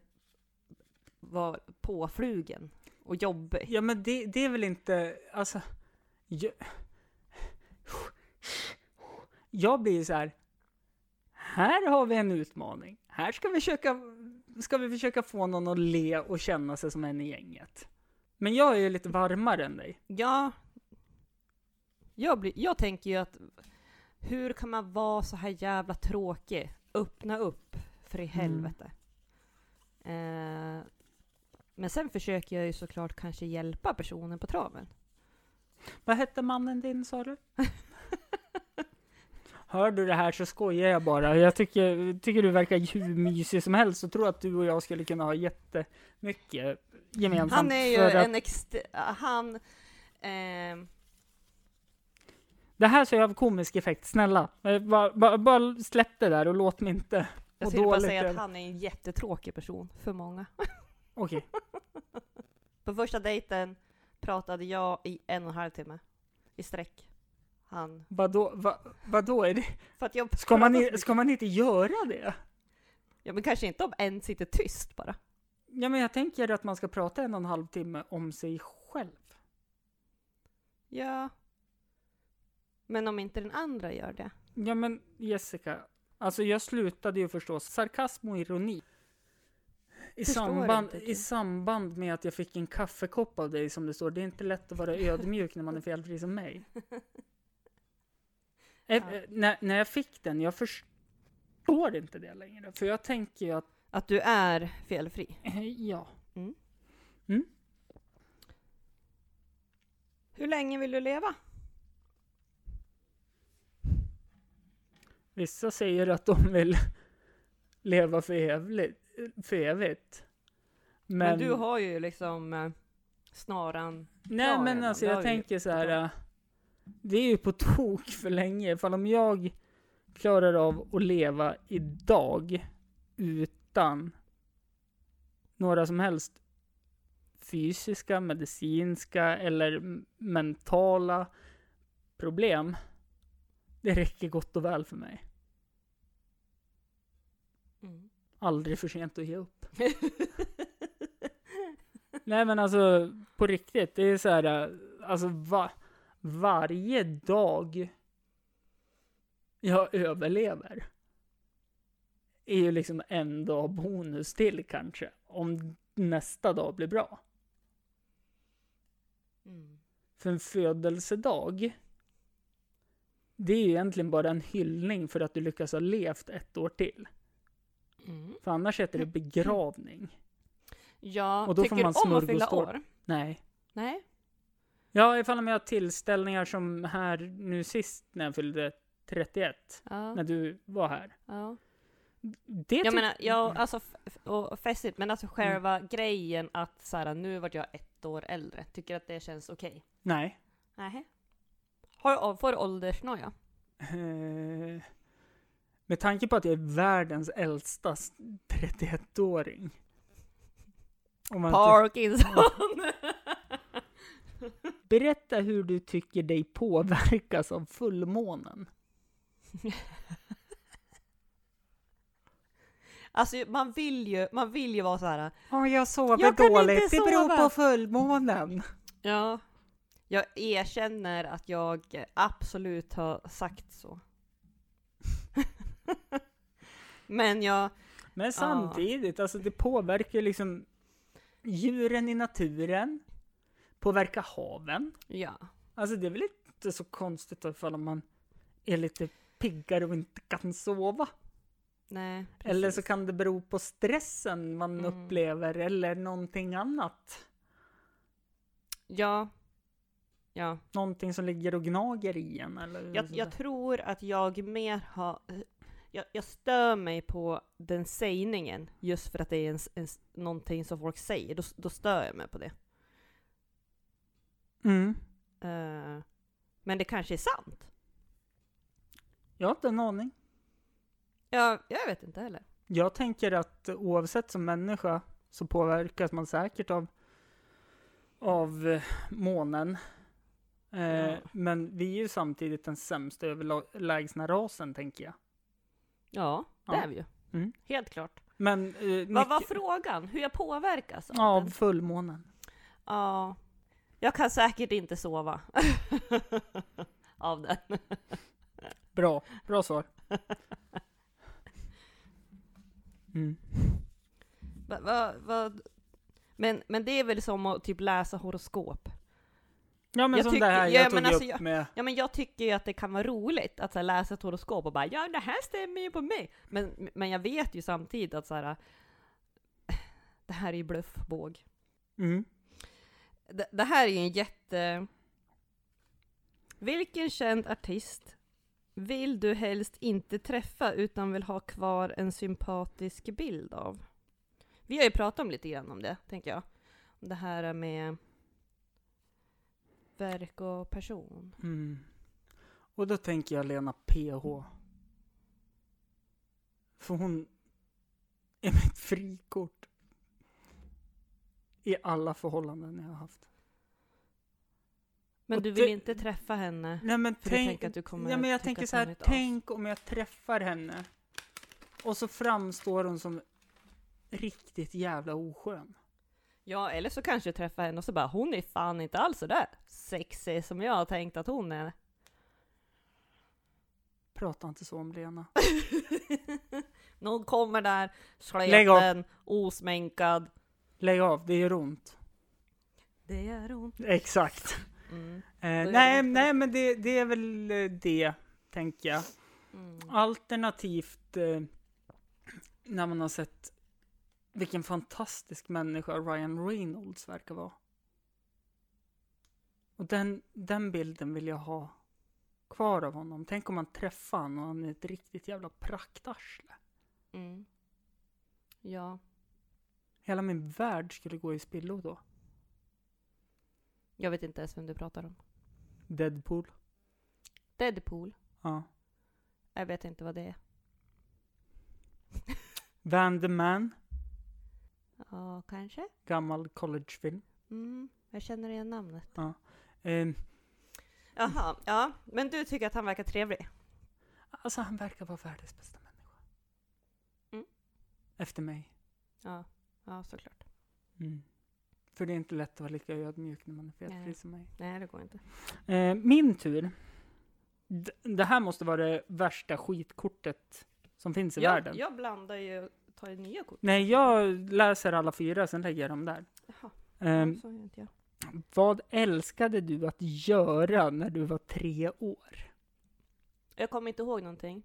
Speaker 3: vara påflugen och jobbig.
Speaker 1: Ja, men det, det är väl inte, alltså... Jag, jag blir så här. Här har vi en utmaning. Här ska vi, försöka, ska vi försöka få någon att le och känna sig som en i gänget. Men jag är ju lite varmare än dig.
Speaker 3: Ja, jag, blir, jag tänker ju att hur kan man vara så här jävla tråkig? Öppna upp, för
Speaker 1: Mm.
Speaker 3: i helvete. Eh, men sen försöker jag ju såklart kanske hjälpa personen på traven.
Speaker 1: Vad hette mannen din sa du? Hör du det här så skojar jag bara. Jag tycker, tycker du verkar hur mysig som helst och tror att du och jag skulle kunna ha jättemycket gemensamt.
Speaker 3: Han är ju
Speaker 1: för att,
Speaker 3: en ext- han, ehm,
Speaker 1: Det här ser jag av komisk effekt, snälla. Eh, Bara, bara, bara släpp det där och låt mig inte.
Speaker 3: jag
Speaker 1: Och
Speaker 3: skulle bara
Speaker 1: dåligt
Speaker 3: säga att
Speaker 1: över-
Speaker 3: han är en jättetråkig person för många.
Speaker 1: Okej.
Speaker 3: På första dejten pratade jag i en och en halv timme i sträck. Han.
Speaker 1: Vadå, va, vadå är det?
Speaker 3: För att jag
Speaker 1: Ska man,
Speaker 3: pratade så
Speaker 1: i- ska man inte göra det?
Speaker 3: Ja men kanske inte om en sitter tyst bara.
Speaker 1: Ja, men jag tänker att man ska prata en och en halv timme om sig själv.
Speaker 3: Ja. Men om inte den andra gör det.
Speaker 1: Ja, men Jessica, alltså jag slutade ju förstå sarkasm och ironi. I
Speaker 3: Förstår
Speaker 1: samband,
Speaker 3: inte,
Speaker 1: I
Speaker 3: typ.
Speaker 1: samband med att jag fick en kaffekopp av dig som det står, det är inte lätt att vara ödmjuk när man är felfri som mig. Eh,
Speaker 3: Ja.
Speaker 1: eh, när, när jag fick den, jag förstår inte det längre. För jag tänker ju att, eh,
Speaker 3: Att du är felfri.
Speaker 1: ja.
Speaker 3: Hur länge vill du leva?
Speaker 1: Vissa säger att de vill leva för evigt. För evigt. Men,
Speaker 3: Men du har ju liksom eh, snaran.
Speaker 1: Nej
Speaker 3: Ja,
Speaker 1: men
Speaker 3: ja,
Speaker 1: alltså
Speaker 3: det
Speaker 1: jag
Speaker 3: har vi ju
Speaker 1: tänker så här.
Speaker 3: pratat
Speaker 1: äh, Det är ju på tok för länge. Ifall om jag klarar av att leva idag utan några som helst fysiska, medicinska eller m- mentala problem. Det räcker gott och väl för mig.
Speaker 3: Mm.
Speaker 1: Aldrig för sent att ge upp. Nej men alltså på riktigt, det är så här, äh, alltså va, varje dag jag överlever är ju liksom en dag bonus till kanske, om nästa dag blir bra.
Speaker 3: Mm.
Speaker 1: För en födelsedag, det är ju egentligen bara en hyllning för att du lyckas ha levt ett år till.
Speaker 3: Mm.
Speaker 1: För annars heter det begravning.
Speaker 3: Ja,
Speaker 1: Och då får
Speaker 3: tycker
Speaker 1: man
Speaker 3: du om att fylla
Speaker 1: smörgåstårta.
Speaker 3: år?
Speaker 1: Nej.
Speaker 3: Nej.
Speaker 1: Ja, ifall om jag har tillställningar som här nu sist när jag fyllde 31.
Speaker 3: Ja.
Speaker 1: när du var här.
Speaker 3: ja.
Speaker 1: Det
Speaker 3: Jag
Speaker 1: tyck- Mm.
Speaker 3: menar, jag, alltså, f- f- och festligt, men alltså själva grejen att så här, nu vart jag ett år äldre, tycker att det känns okej?
Speaker 1: Nej.
Speaker 3: Nej. Har du, får du åldersnoja?
Speaker 1: Eh, med tanke på att jag är världens äldsta s- 31-åring. Om man
Speaker 3: Parkinson!
Speaker 1: inte- Berätta hur du tycker dig påverkas av fullmånen.
Speaker 3: alltså man vill ju, man vill ju vara så här. äh,
Speaker 1: Ja, jag sover
Speaker 3: Jag kan dåligt. inte Det beror sova. på
Speaker 1: fullmånen.
Speaker 3: ja, jag erkänner att jag absolut har sagt så. men jag,
Speaker 1: Men samtidigt, alltså det påverkar ju liksom djuren i naturen, påverkar haven.
Speaker 3: ja.
Speaker 1: Alltså det är väl inte så konstigt då ifall man är lite piggare och inte kan sova.
Speaker 3: Nej,
Speaker 1: Eller så
Speaker 3: precis.
Speaker 1: kan det bero på stressen man
Speaker 3: Mm.
Speaker 1: upplever eller någonting annat.
Speaker 3: Ja.
Speaker 1: Mm.
Speaker 3: Ja.
Speaker 1: Någonting som ligger och gnager i en eller
Speaker 3: Jag, jag tror att jag mer har... Jag, jag stör mig på den sägningen just för att det är en, en, någonting som folk säger. Då, då stör jag mig på det.
Speaker 1: mm.
Speaker 3: Eh, men det kanske är sant?
Speaker 1: jag har inte en aning.
Speaker 3: Jag, jag vet inte heller.
Speaker 1: Jag tänker att oavsett som människa så påverkas man säkert av, av eh, månen. Eh,
Speaker 3: Ja.
Speaker 1: Men vi är ju samtidigt den sämsta överlägsna rasen tänker jag.
Speaker 3: Ja, det
Speaker 1: Ja.
Speaker 3: är vi ju.
Speaker 1: Mm.
Speaker 3: Helt klart.
Speaker 1: Men eh,
Speaker 3: Vad var
Speaker 1: mycket-
Speaker 3: frågan? Hur jag påverkas av
Speaker 1: av
Speaker 3: den?
Speaker 1: fullmånen.
Speaker 3: Ja. Jag kan säkert inte sova. av den.
Speaker 1: Bra, bra svar. Mm.
Speaker 3: Va, va, va? Men, men det är väl som att typ läsa horoskop?
Speaker 1: Ja men
Speaker 3: Jag
Speaker 1: som
Speaker 3: tycker-
Speaker 1: det här
Speaker 3: ja,
Speaker 1: jag
Speaker 3: men
Speaker 1: tog
Speaker 3: alltså,
Speaker 1: upp
Speaker 3: jag-
Speaker 1: med...
Speaker 3: Ja men jag tycker ju att det kan vara roligt att så här, läsa ett horoskop och bara ja det här stämmer ju på mig. Men, men jag vet ju samtidigt att så här, det här är ju bluffbåg.
Speaker 1: Mm.
Speaker 3: Det, det här är ju en jätte... Vilken känd artist vill du helst inte träffa utan vill ha kvar en sympatisk bild av? Vi har ju pratat om lite grann om det, tänker jag. Om Det här med verk och person.
Speaker 1: Mm. Och då tänker jag Lena PH. För hon är mitt frikort. I alla förhållanden jag har haft.
Speaker 3: Men
Speaker 1: Och
Speaker 3: du vill
Speaker 1: det-
Speaker 3: inte träffa henne?
Speaker 1: Nej men
Speaker 3: För du
Speaker 1: tänk...
Speaker 3: tänker att du kommer
Speaker 1: ja, men jag
Speaker 3: tycka
Speaker 1: tänker
Speaker 3: att
Speaker 1: så
Speaker 3: hon
Speaker 1: här,
Speaker 3: är ett as.
Speaker 1: tänk om jag träffar henne. Och så framstår hon som riktigt jävla oskön.
Speaker 3: Ja, eller så kanske jag träffar henne och så bara hon är fan inte alls sådär sexig som jag har tänkt att hon är.
Speaker 1: Prata inte så om Lena.
Speaker 3: Någon kommer där,
Speaker 1: Lägg av.
Speaker 3: sleten, osminkad.
Speaker 1: Lägg av, det gör ont.
Speaker 3: Det gör hon.
Speaker 1: Exakt.
Speaker 3: Mm.
Speaker 1: Eh,
Speaker 3: gör
Speaker 1: nej,
Speaker 3: ont.
Speaker 1: nej, men det, det är väl eh, det, tänker jag.
Speaker 3: Mm.
Speaker 1: Alternativt eh, när man har sett vilken fantastisk människa Ryan Reynolds verkar vara. Och den, den bilden vill jag ha kvar av honom. Tänk om man träffar honom och han är ett riktigt jävla praktarsle.
Speaker 3: Mm. Ja.
Speaker 1: Hela min värld skulle gå i spillo då.
Speaker 3: Jag vet inte ens vem du pratar om.
Speaker 1: Deadpool.
Speaker 3: Deadpool.
Speaker 1: Ja.
Speaker 3: Jag vet inte vad det är.
Speaker 1: Van the Man.
Speaker 3: Ja, kanske.
Speaker 1: Gammal collegefilm.
Speaker 3: Mm, jag känner igen namnet.
Speaker 1: Ehm,
Speaker 3: Jaha, ja. Men du tycker att han verkar trevlig?
Speaker 1: alltså han verkar vara världens bästa människa.
Speaker 3: Mm.
Speaker 1: Efter mig.
Speaker 3: Ja, ja såklart.
Speaker 1: Mm. För det är inte lätt att vara lika ödmjuk när man är felfri
Speaker 3: Nej.
Speaker 1: som mig.
Speaker 3: Nej, det går inte.
Speaker 1: Eh, min tur. D- det här måste vara det värsta skitkortet som finns i världen.
Speaker 3: Jag, jag blandar ju, tar ju nya kort.
Speaker 1: Nej, jag läser alla fyra, sen lägger jag dem där.
Speaker 3: Jaha,
Speaker 1: Eh,
Speaker 3: så gör inte jag.
Speaker 1: vad älskade du att göra när du var tre år?
Speaker 3: Jag kommer inte ihåg någonting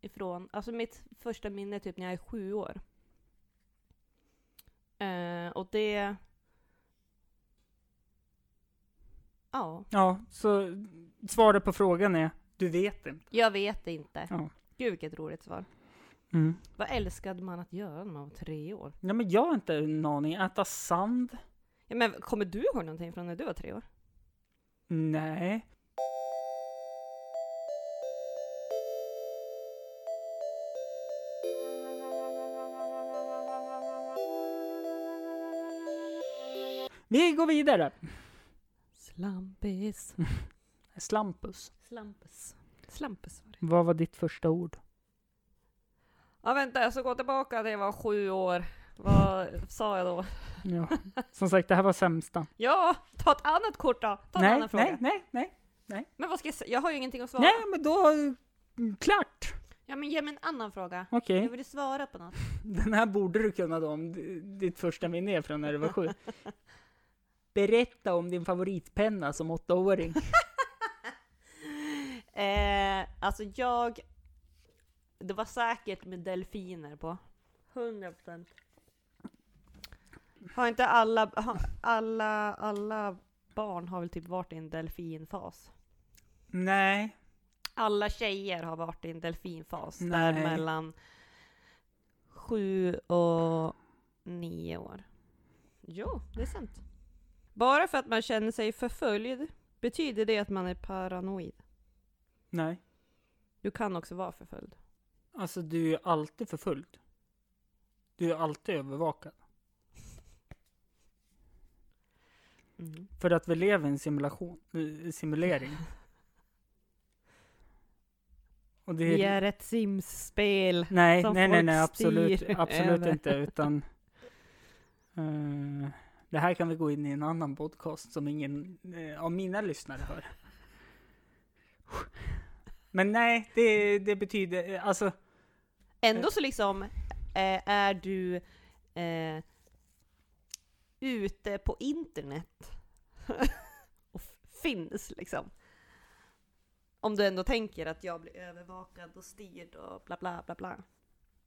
Speaker 3: ifrån, alltså mitt första minne är typ när jag är sju år. Eh, och det... Ja,
Speaker 1: Ja, så svaret på frågan är, du vet inte.
Speaker 3: jag vet inte.
Speaker 1: Ja.
Speaker 3: Gud vilket roligt svar.
Speaker 1: Mm.
Speaker 3: Vad älskade man att göra när man var tre år?
Speaker 1: Nej, men jag har inte en aning. Äta sand?
Speaker 3: Ja, men kommer du ihåg någonting från när du var tre år?
Speaker 1: Nej. Vi går vidare.
Speaker 3: Slampis.
Speaker 1: Slampus.
Speaker 3: Slampis. Slampis var det.
Speaker 1: Vad var ditt första ord?
Speaker 3: Ja vänta, jag ska gå tillbaka till jag var sju år. Vad sa jag då?
Speaker 1: Ja. Som sagt, det här var sämsta.
Speaker 3: Ja, ta ett annat kort då! Ta en
Speaker 1: nej,
Speaker 3: annan fråga.
Speaker 1: nej, nej, nej,
Speaker 3: Men vad ska jag säga? Jag har ju ingenting att svara.
Speaker 1: nej, men då... mm, Klart!
Speaker 3: Ja men ge mig en annan fråga.
Speaker 1: Okej.
Speaker 3: Jag vill svara på något.
Speaker 1: Den här borde du kunna då om d- ditt första minne är från när du var sju. Berätta om din favoritpenna som åttaåring.
Speaker 3: Eh, alltså jag... Det var säkert med delfiner på. 100%. Har inte alla, har- alla, alla barn har väl typ varit i en delfinfas?
Speaker 1: Nej,
Speaker 3: Alla tjejer har varit i en delfinfas där
Speaker 1: Nej.
Speaker 3: mellan sju och nio år. Jo, det är sant. Bara för att man känner sig förföljd betyder det att man är paranoid.
Speaker 1: Nej,
Speaker 3: Du kan också vara förföljd.
Speaker 1: alltså du är ju alltid förföljd. Du är alltid övervakad.
Speaker 3: Mm.
Speaker 1: För att vi lever i en simulation, eh, simulering. Och det är,
Speaker 3: Vi är ett Sims-spel.
Speaker 1: nej,
Speaker 3: som
Speaker 1: nej, nej,
Speaker 3: folk
Speaker 1: nej, absolut,
Speaker 3: styr
Speaker 1: absolut
Speaker 3: över.
Speaker 1: inte, utan eh, det här kan vi gå in i en annan podcast som ingen eh, av mina lyssnare hör. Men nej, det, det betyder, eh, alltså,
Speaker 3: Ändå så liksom eh, är du eh, ute på internet och f- finns liksom. Om du ändå tänker att jag blir övervakad och styrd och bla bla bla bla.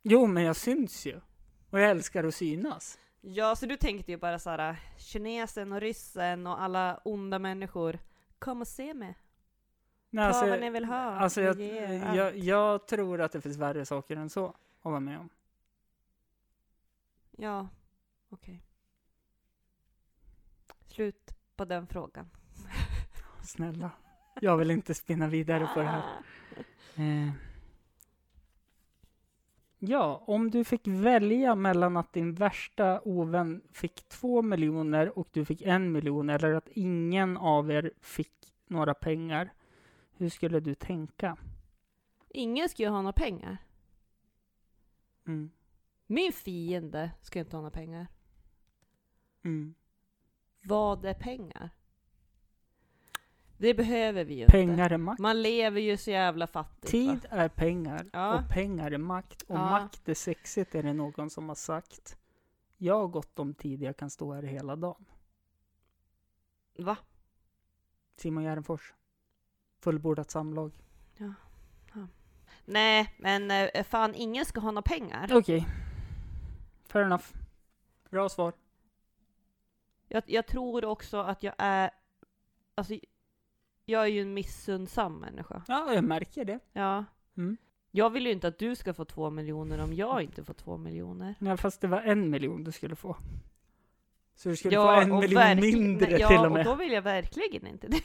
Speaker 1: jo, men jag syns ju. Och jag älskar att synas.
Speaker 3: Ja, så du tänkte ju bara såhär, kinesen och ryssen och alla onda människor, kom och se mig,
Speaker 1: Nej,
Speaker 3: ta
Speaker 1: alltså-
Speaker 3: vad ni vill ha.
Speaker 1: Alltså jag,
Speaker 3: ger er allt."
Speaker 1: jag, jag tror att det finns värre saker än så att vara med om.
Speaker 3: Ja, okej. Slut på den frågan.
Speaker 1: Snälla, jag vill inte spinna vidare på det här. Eh. Ja, om du fick välja mellan att din värsta ovän fick två miljoner och du fick en miljon eller att ingen av er fick några pengar, hur skulle du tänka?
Speaker 3: Ingen ska ju ha några pengar.
Speaker 1: Mm.
Speaker 3: Min fiende ska inte ha några pengar.
Speaker 1: Mm.
Speaker 3: Vad är pengar? Det behöver vi ju inte.
Speaker 1: Pengar är makt.
Speaker 3: Man lever ju så jävla fattigt. va?
Speaker 1: Tid är pengar
Speaker 3: Ja.
Speaker 1: och pengar är makt. Och
Speaker 3: Ja.
Speaker 1: makt är sexigt är det någon som har sagt. Jag har gott om tid, jag kan stå här hela dagen.
Speaker 3: Va?
Speaker 1: Simon Gärdenfors. Fullbordat samlag.
Speaker 3: Nej, men eh, fan ingen ska ha några pengar.
Speaker 1: Okej. Fair enough. Bra svar.
Speaker 3: Jag, jag tror också att jag är... Alltså, jag är ju en missunnsam människa.
Speaker 1: Ja, jag märker det.
Speaker 3: Ja.
Speaker 1: Mm.
Speaker 3: Jag vill ju inte att du ska få två miljoner om jag inte får två miljoner.
Speaker 1: Nej, fast det var en miljon du skulle få. Så du skulle
Speaker 3: Ja,
Speaker 1: få en
Speaker 3: och
Speaker 1: miljon
Speaker 3: verkl-
Speaker 1: mindre
Speaker 3: nej, ja,
Speaker 1: till och med.
Speaker 3: och då vill jag verkligen inte det.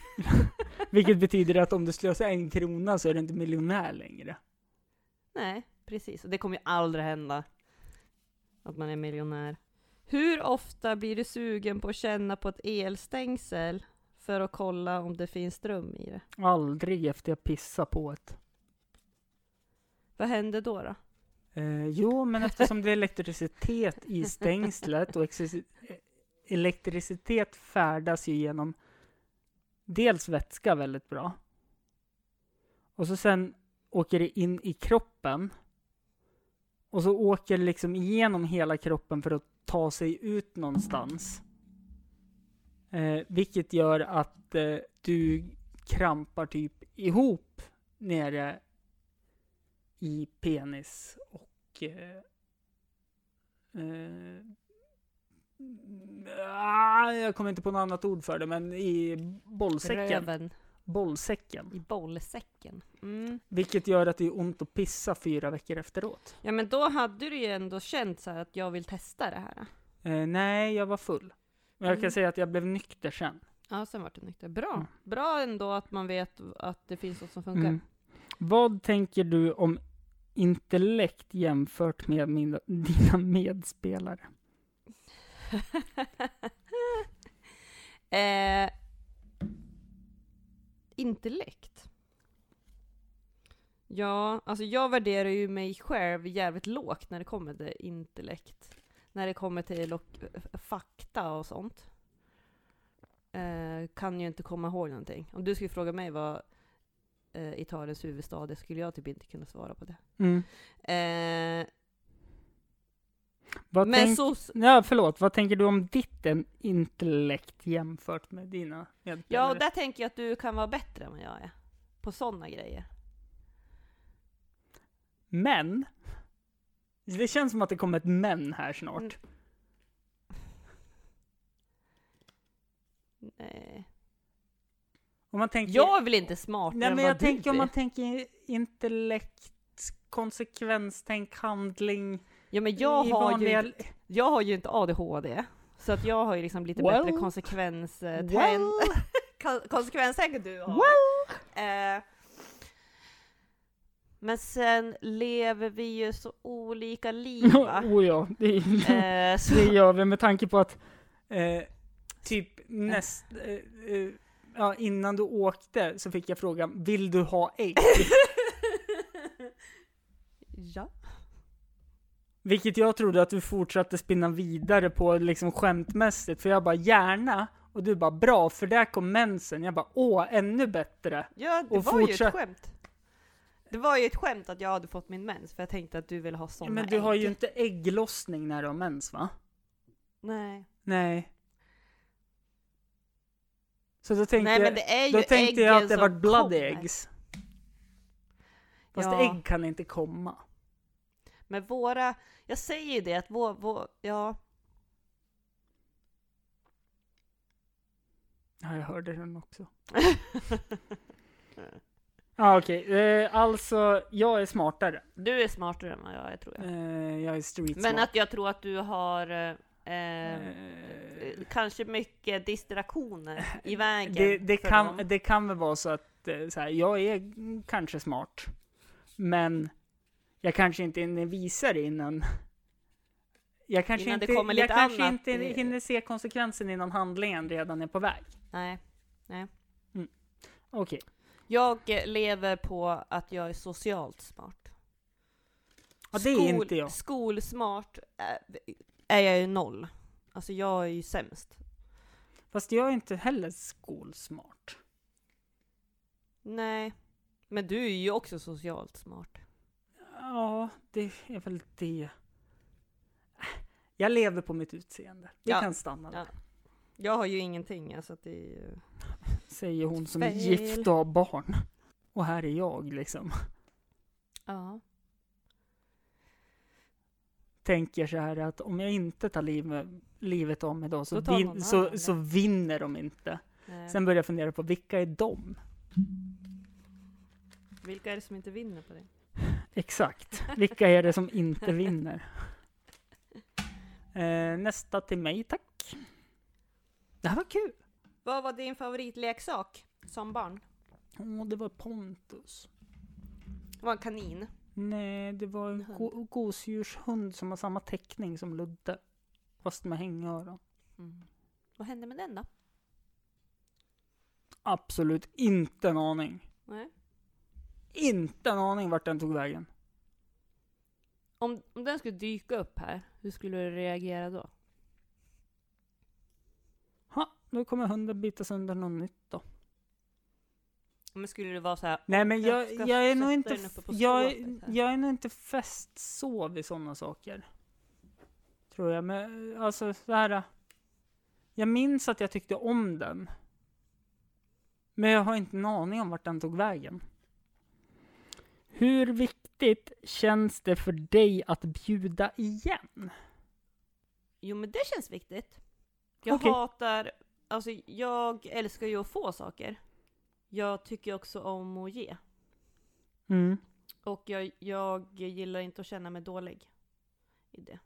Speaker 1: Vilket betyder att om du slösar en krona så är du inte miljonär längre.
Speaker 3: Nej, precis. Och det kommer ju aldrig hända. Att man är miljonär. Hur ofta blir du sugen på att känna på ett elstängsel för att kolla om det finns ström i det?
Speaker 1: Aldrig efter jag pissar på ett.
Speaker 3: Vad händer då? då?
Speaker 1: Eh, jo, men eftersom det är elektricitet i stängslet och exis- eh, elektricitet färdas ju genom dels vätska väldigt bra och så sen åker det in i kroppen och så åker det liksom igenom hela kroppen för att ta sig ut någonstans. Eh, vilket gör att eh, du krampar typ ihop nere i penis och... Eh, eh, ah, jag kommer inte på något annat ord för det, men i bollsäcken.
Speaker 3: Röven
Speaker 1: Bollsäcken.
Speaker 3: i bollsäcken. Mm.
Speaker 1: Vilket gör att det är ont att pissa fyra veckor efteråt.
Speaker 3: Ja men då hade du ju ändå känt så här att jag vill testa det här.
Speaker 1: Eh, nej, jag var full. Men jag kan
Speaker 3: Mm.
Speaker 1: säga att jag blev nykter sen.
Speaker 3: Ja, sen vart du nykter. Bra!
Speaker 1: Mm.
Speaker 3: Bra ändå att man vet att det finns något som funkar.
Speaker 1: Mm. Vad tänker du om intellekt jämfört med mina, dina medspelare?
Speaker 3: eh, intellekt. Ja, alltså jag värderar ju mig själv jävligt lågt när det kommer till intellekt. När det kommer till och, eh, fakta och sånt. Eh, kan ju inte komma ihåg någonting. Om du skulle fråga mig vad eh, Italiens huvudstad är skulle jag typ inte kunna svara på det.
Speaker 1: Mm.
Speaker 3: Eh,
Speaker 1: Vad
Speaker 3: men
Speaker 1: tänk-
Speaker 3: så,
Speaker 1: Ja, förlåt. Vad tänker du om ditt en- intellekt jämfört med dina medspelare?
Speaker 3: Ja, och där tänker jag att du kan vara bättre än vad jag är. På sådana grejer.
Speaker 1: Men! Det känns som att det kommer ett men här snart.
Speaker 3: Mm. Nej.
Speaker 1: Om man tänker...
Speaker 3: Eh, Jag är väl inte smartare
Speaker 1: Nej,
Speaker 3: än
Speaker 1: men
Speaker 3: vad
Speaker 1: jag
Speaker 3: du
Speaker 1: tänker om man
Speaker 3: är.
Speaker 1: tänker intellekt, konsekvens, tänk handling.
Speaker 3: Ja, men jag
Speaker 1: i
Speaker 3: har, ju
Speaker 1: vanliga-
Speaker 3: inte, jag har ju inte ADHD. Så att jag har ju liksom lite
Speaker 1: Well.
Speaker 3: bättre konsekvens... eh,
Speaker 1: Well.
Speaker 3: kon- konsekvenstänk än du har.
Speaker 1: Well.
Speaker 3: Eh, men sen lever vi ju så olika liv va?
Speaker 1: oh, ja, det, är-
Speaker 3: eh, så,
Speaker 1: det gör vi med tanke på att eh, typ näst... Eh, eh, ja, innan du åkte så fick jag frågan, vill du ha ägg?
Speaker 3: ja.
Speaker 1: Vilket jag trodde att du fortsatte spinna vidare på liksom skämtmässigt, för jag bara gärna, och du bara bra, för där kom mensen. Jag bara åh, ännu bättre.
Speaker 3: Ja, det
Speaker 1: Och
Speaker 3: var ju
Speaker 1: fortsätt-
Speaker 3: ett skämt. Det var ju ett skämt att jag hade fått min mens, för jag tänkte att du ville ha såna
Speaker 1: Men du har
Speaker 3: ägg.
Speaker 1: ju inte ägglossning när du har mens va?
Speaker 3: Nej.
Speaker 1: Nej. Så då tänkte,
Speaker 3: Nej men
Speaker 1: jag-
Speaker 3: det är ju
Speaker 1: då tänkte jag
Speaker 3: äggen
Speaker 1: att det
Speaker 3: som
Speaker 1: var blood
Speaker 3: kommer.
Speaker 1: eggs. Fast
Speaker 3: Ja.
Speaker 1: ägg kan inte komma.
Speaker 3: Men våra, jag säger ju det att vår, vår ja.
Speaker 1: Ja, jag hörde den också. Ja, okej. Eh, alltså, jag är smartare.
Speaker 3: du är smartare än vad jag är tror jag.
Speaker 1: Eh, jag är street
Speaker 3: Men att jag tror att du har eh, eh,
Speaker 1: Eh,
Speaker 3: kanske mycket distraktioner i vägen.
Speaker 1: det, det,
Speaker 3: för
Speaker 1: kan,
Speaker 3: dem.
Speaker 1: det kan väl vara så att eh, så här, jag är mm, kanske smart, men jag kanske inte hinner visa det innan. Jag kanske,
Speaker 3: Innan det
Speaker 1: inte,
Speaker 3: kommer
Speaker 1: jag
Speaker 3: lite
Speaker 1: kanske
Speaker 3: annat
Speaker 1: inte
Speaker 3: i-
Speaker 1: hinner se konsekvensen innan handlingen redan är på väg.
Speaker 3: Nej.
Speaker 1: Okej.
Speaker 3: Jag eh, lever på att jag är socialt smart.
Speaker 1: Ja, det är inte jag.
Speaker 3: Skolsmart eh, är jag ju noll. Alltså jag är ju sämst.
Speaker 1: Fast jag är inte heller skolsmart.
Speaker 3: Nej. Men du är ju också socialt smart.
Speaker 1: Ja, det är väl det. Äh, Jag lever på mitt utseende. Vi
Speaker 3: Ja.
Speaker 1: kan stanna där,
Speaker 3: Ja. Jag har ju ingenting alltså att det är ju...
Speaker 1: säger hon som är
Speaker 3: Fel.
Speaker 1: gift och har barn. Och här är jag liksom.
Speaker 3: Ja.
Speaker 1: tänker så här att om jag inte tar liv, livet av mig då så,
Speaker 3: Då tar någon
Speaker 1: vin,
Speaker 3: annan
Speaker 1: så,
Speaker 3: det.
Speaker 1: så vinner de inte.
Speaker 3: Nej.
Speaker 1: Sen börjar jag fundera på vilka är de?
Speaker 3: Vilka är det som inte vinner på det?
Speaker 1: Exakt. Vilka är det som inte vinner? Eh, nästa till mig, tack. Det här var kul.
Speaker 3: Vad var din favoritleksak som barn?
Speaker 1: Åh, det var Pontus.
Speaker 3: Det var en kanin.
Speaker 1: Nej, det var en
Speaker 3: En hund.
Speaker 1: go- gosedjurshund som har samma teckning som Ludde. Fast med hängöron.
Speaker 3: Mm. Vad hände med den då?
Speaker 1: Absolut inte en aning.
Speaker 3: Nej.
Speaker 1: Inte en aning vart den tog vägen.
Speaker 3: Om, om den skulle dyka upp här, hur skulle du reagera då?
Speaker 1: Ha, nu kommer hunden bita sönder något nytt då.
Speaker 3: Men skulle det vara så här,
Speaker 1: Nej men
Speaker 3: Jag
Speaker 1: jag,
Speaker 3: ska
Speaker 1: jag, är, nog
Speaker 3: sätta
Speaker 1: inte,
Speaker 3: den uppe på
Speaker 1: jag, är-
Speaker 3: skåpet här.
Speaker 1: jag är nog inte fäst så vid sådana saker. Tror jag. Men eh, alltså så här. Jag minns att jag tyckte om den. Men jag har inte en aning om vart den tog vägen. Hur viktigt känns det för dig att bjuda igen?
Speaker 3: jo men det känns viktigt. Jag
Speaker 1: Okej.
Speaker 3: hatar, alltså jag älskar ju att få saker. Jag tycker också om att ge.
Speaker 1: Mm.
Speaker 3: Och jag, jag gillar inte att känna mig dålig i det.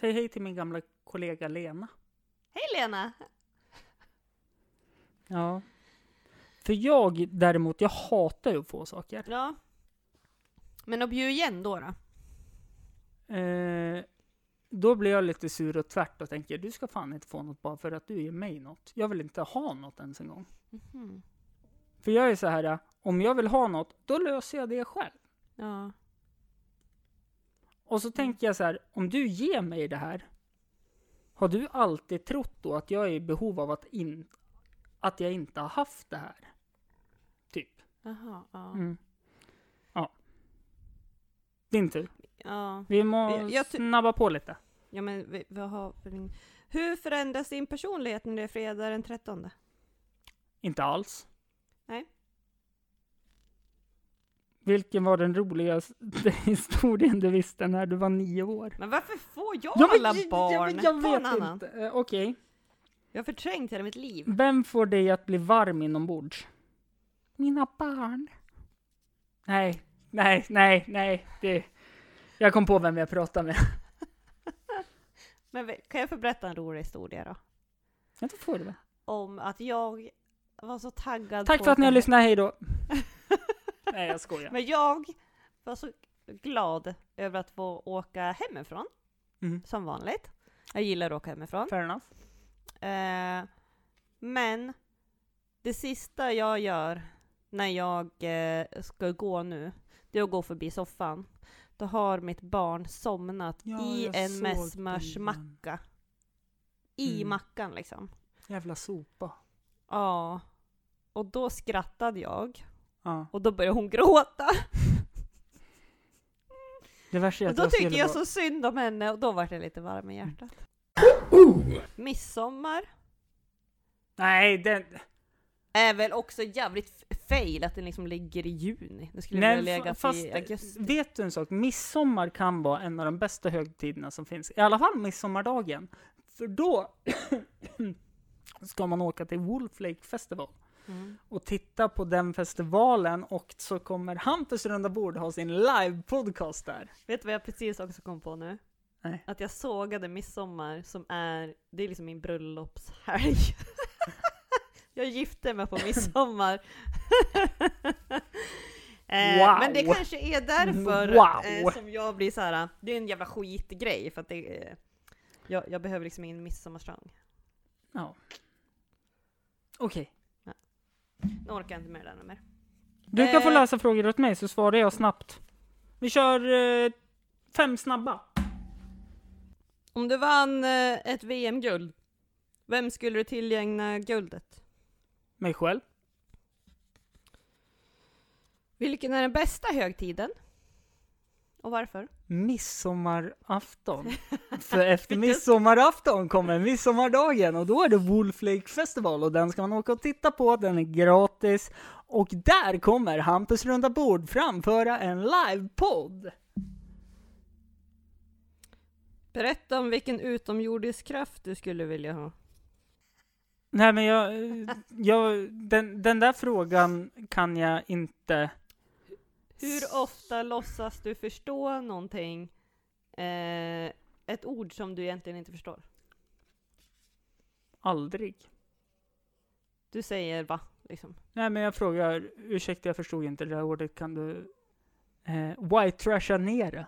Speaker 1: Säg hej till min gamla kollega Lena.
Speaker 3: Hej Lena!
Speaker 1: Ja. För jag däremot, jag hatar ju att få saker.
Speaker 3: Ja. Men att bjuda igen då då?
Speaker 1: Eh, då blir jag lite sur och tvärt och tänker du ska fan inte få något bara för att du ger mig något. Jag vill inte ha något ens en gång.
Speaker 3: Mhm.
Speaker 1: För jag är så här, eh, om jag vill ha något, då löser jag det själv.
Speaker 3: Ja. Mm.
Speaker 1: Och så tänker jag så här, om du ger mig det här, har du alltid trott då att jag är i behov av att, in, att jag inte har haft det här? Typ.
Speaker 3: Jaha, ja.
Speaker 1: Mm. Ja. Din tur.
Speaker 3: ja.
Speaker 1: Vi må
Speaker 3: Jag- jag ty-
Speaker 1: snabba på lite.
Speaker 3: Ja men vi, vi har... väl- Hur förändras din personlighet när det är fredag den 13?
Speaker 1: Inte alls.
Speaker 3: Nej.
Speaker 1: Vilken var den roligaste historien du visste när du var nio år?
Speaker 3: Men varför får jag
Speaker 1: Ja, men
Speaker 3: alla
Speaker 1: jag-
Speaker 3: barn?
Speaker 1: Jag, jag,
Speaker 3: Ta en
Speaker 1: vet
Speaker 3: annan.
Speaker 1: inte. Eh, Okej.
Speaker 3: Jag har förträngt hela mitt liv.
Speaker 1: Vem får dig att bli varm inombords? Mina barn. Nej, nej, nej, nej. Det... Jag kom på vem jag pratade med.
Speaker 3: Men vi- kan jag få berätta en rolig historia då?
Speaker 1: Jag tror får det. väl.
Speaker 3: Om att jag var så taggad
Speaker 1: Tack
Speaker 3: på
Speaker 1: för att ni har
Speaker 3: den
Speaker 1: lyssnat,
Speaker 3: här-
Speaker 1: hej då. Nej, jag skojar.
Speaker 3: Men jag var så glad över att få åka hemifrån,
Speaker 1: Mm.
Speaker 3: som vanligt. Jag gillar att åka hemifrån.
Speaker 1: Fair enough.
Speaker 3: Eh, men det sista jag gör när jag eh, ska gå nu, det är att gå förbi soffan. Då har mitt barn somnat i en med smörsmacka, i
Speaker 1: Mm.
Speaker 3: mackan liksom.
Speaker 1: Jävla sopa.
Speaker 3: Ja. Och då skrattade jag
Speaker 1: Ja.
Speaker 3: och då började hon gråta.
Speaker 1: Det värsta är
Speaker 3: Och
Speaker 1: att
Speaker 3: då
Speaker 1: jag
Speaker 3: tyckte
Speaker 1: skulle
Speaker 3: jag
Speaker 1: vara-
Speaker 3: så synd om henne och då var det lite varm i hjärtat. Midsommar
Speaker 1: Nej, den...
Speaker 3: är väl också jävligt f- fail att den liksom ligger i juni. Den skulle
Speaker 1: Nej,
Speaker 3: väl
Speaker 1: fa-
Speaker 3: ha legat
Speaker 1: fast
Speaker 3: i augusti.
Speaker 1: vet du en sak? Midsommar kan vara en av de bästa högtiderna som finns. I alla fall midsommardagen. För då ska man åka till Wolf Lake Festival
Speaker 3: Mm.
Speaker 1: och titta på den festivalen och så kommer Hampus runda bord ha sin live-podcast där.
Speaker 3: Vet du vad jag precis också kom på nu?
Speaker 1: Nej.
Speaker 3: Att jag sågade midsommar som är, det är liksom min bröllopshelg. jag gifte mig på midsommar. Eh,
Speaker 1: Wow.
Speaker 3: Men det kanske är därför
Speaker 1: Wow.
Speaker 3: eh, som jag blir så här. det är en jävla skitgrej för att det, eh, jag, jag behöver liksom ingen midsommarstång.
Speaker 1: Ja. Okej.
Speaker 3: Nu orkar jag inte med det där mer.
Speaker 1: Du kan få
Speaker 3: Eh.
Speaker 1: läsa frågor åt mig så svarar jag snabbt. Vi kör eh, fem snabba.
Speaker 3: Om du vann eh, ett VM-guld, vem skulle du tillägna guldet?
Speaker 1: Mig själv.
Speaker 3: Vilken är den bästa högtiden? Och varför?
Speaker 1: midsommarafton. För efter midsommarafton kommer midsommardagen och då är det Wolf Lake Festival och den ska man åka och titta på, den är gratis. Och där kommer Hampus runda bord framföra en livepodd!
Speaker 3: Berätta om vilken utomjordisk kraft du skulle vilja ha.
Speaker 1: Nej men jag, jag den, den där frågan kan jag inte
Speaker 3: Hur ofta låtsas du förstå någonting, eh, ett ord som du egentligen inte förstår?
Speaker 1: Aldrig.
Speaker 3: Du säger va, liksom.
Speaker 1: Nej, men jag frågar, ursäkta jag förstod inte det där ordet, kan du eh, white trasha ner det?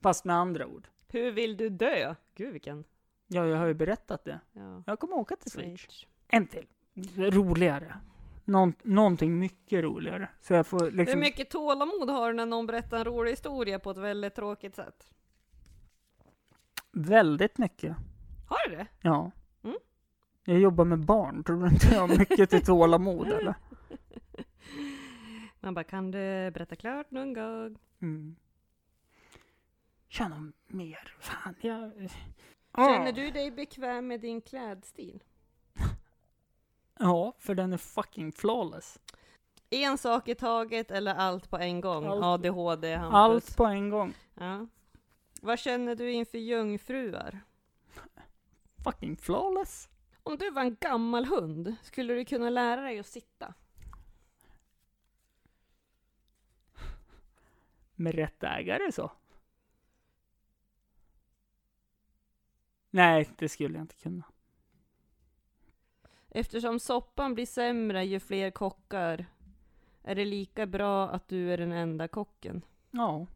Speaker 1: Fast med andra ord.
Speaker 3: Hur vill du dö? Gud vilken...
Speaker 1: Ja, jag har ju berättat det.
Speaker 3: Ja.
Speaker 1: Jag kommer åka till Schweiz.
Speaker 3: Schweiz.
Speaker 1: En till. Roligare. Någon, någonting mycket roligare. Så jag får
Speaker 3: Hur
Speaker 1: liksom...
Speaker 3: mycket tålamod har du när någon berättar en rolig historia på ett väldigt tråkigt sätt?
Speaker 1: Väldigt mycket.
Speaker 3: Har du det?
Speaker 1: Ja.
Speaker 3: Mm.
Speaker 1: Jag jobbar med barn, tror du inte jag har mycket till tålamod eller?
Speaker 3: Man bara, kan du berätta klart någon gång?
Speaker 1: Mm. Kör någon mer. Fan, jag...
Speaker 3: Känner
Speaker 1: Ah.
Speaker 3: du dig bekväm med din klädstil?
Speaker 1: Ja, för den är fucking flawless.
Speaker 3: En sak i taget eller allt på en gång?
Speaker 1: Allt.
Speaker 3: ADHD, Hampus.
Speaker 1: Allt på en gång.
Speaker 3: Ja. Vad känner du inför jungfruar?
Speaker 1: Fucking flawless.
Speaker 3: Om du var en gammal hund, skulle du kunna lära dig att sitta?
Speaker 1: Med rätt ägare så. Nej, det skulle jag inte kunna.
Speaker 3: Eftersom soppan blir sämre ju fler kockar är det lika bra att du är den enda kocken.
Speaker 1: Ja,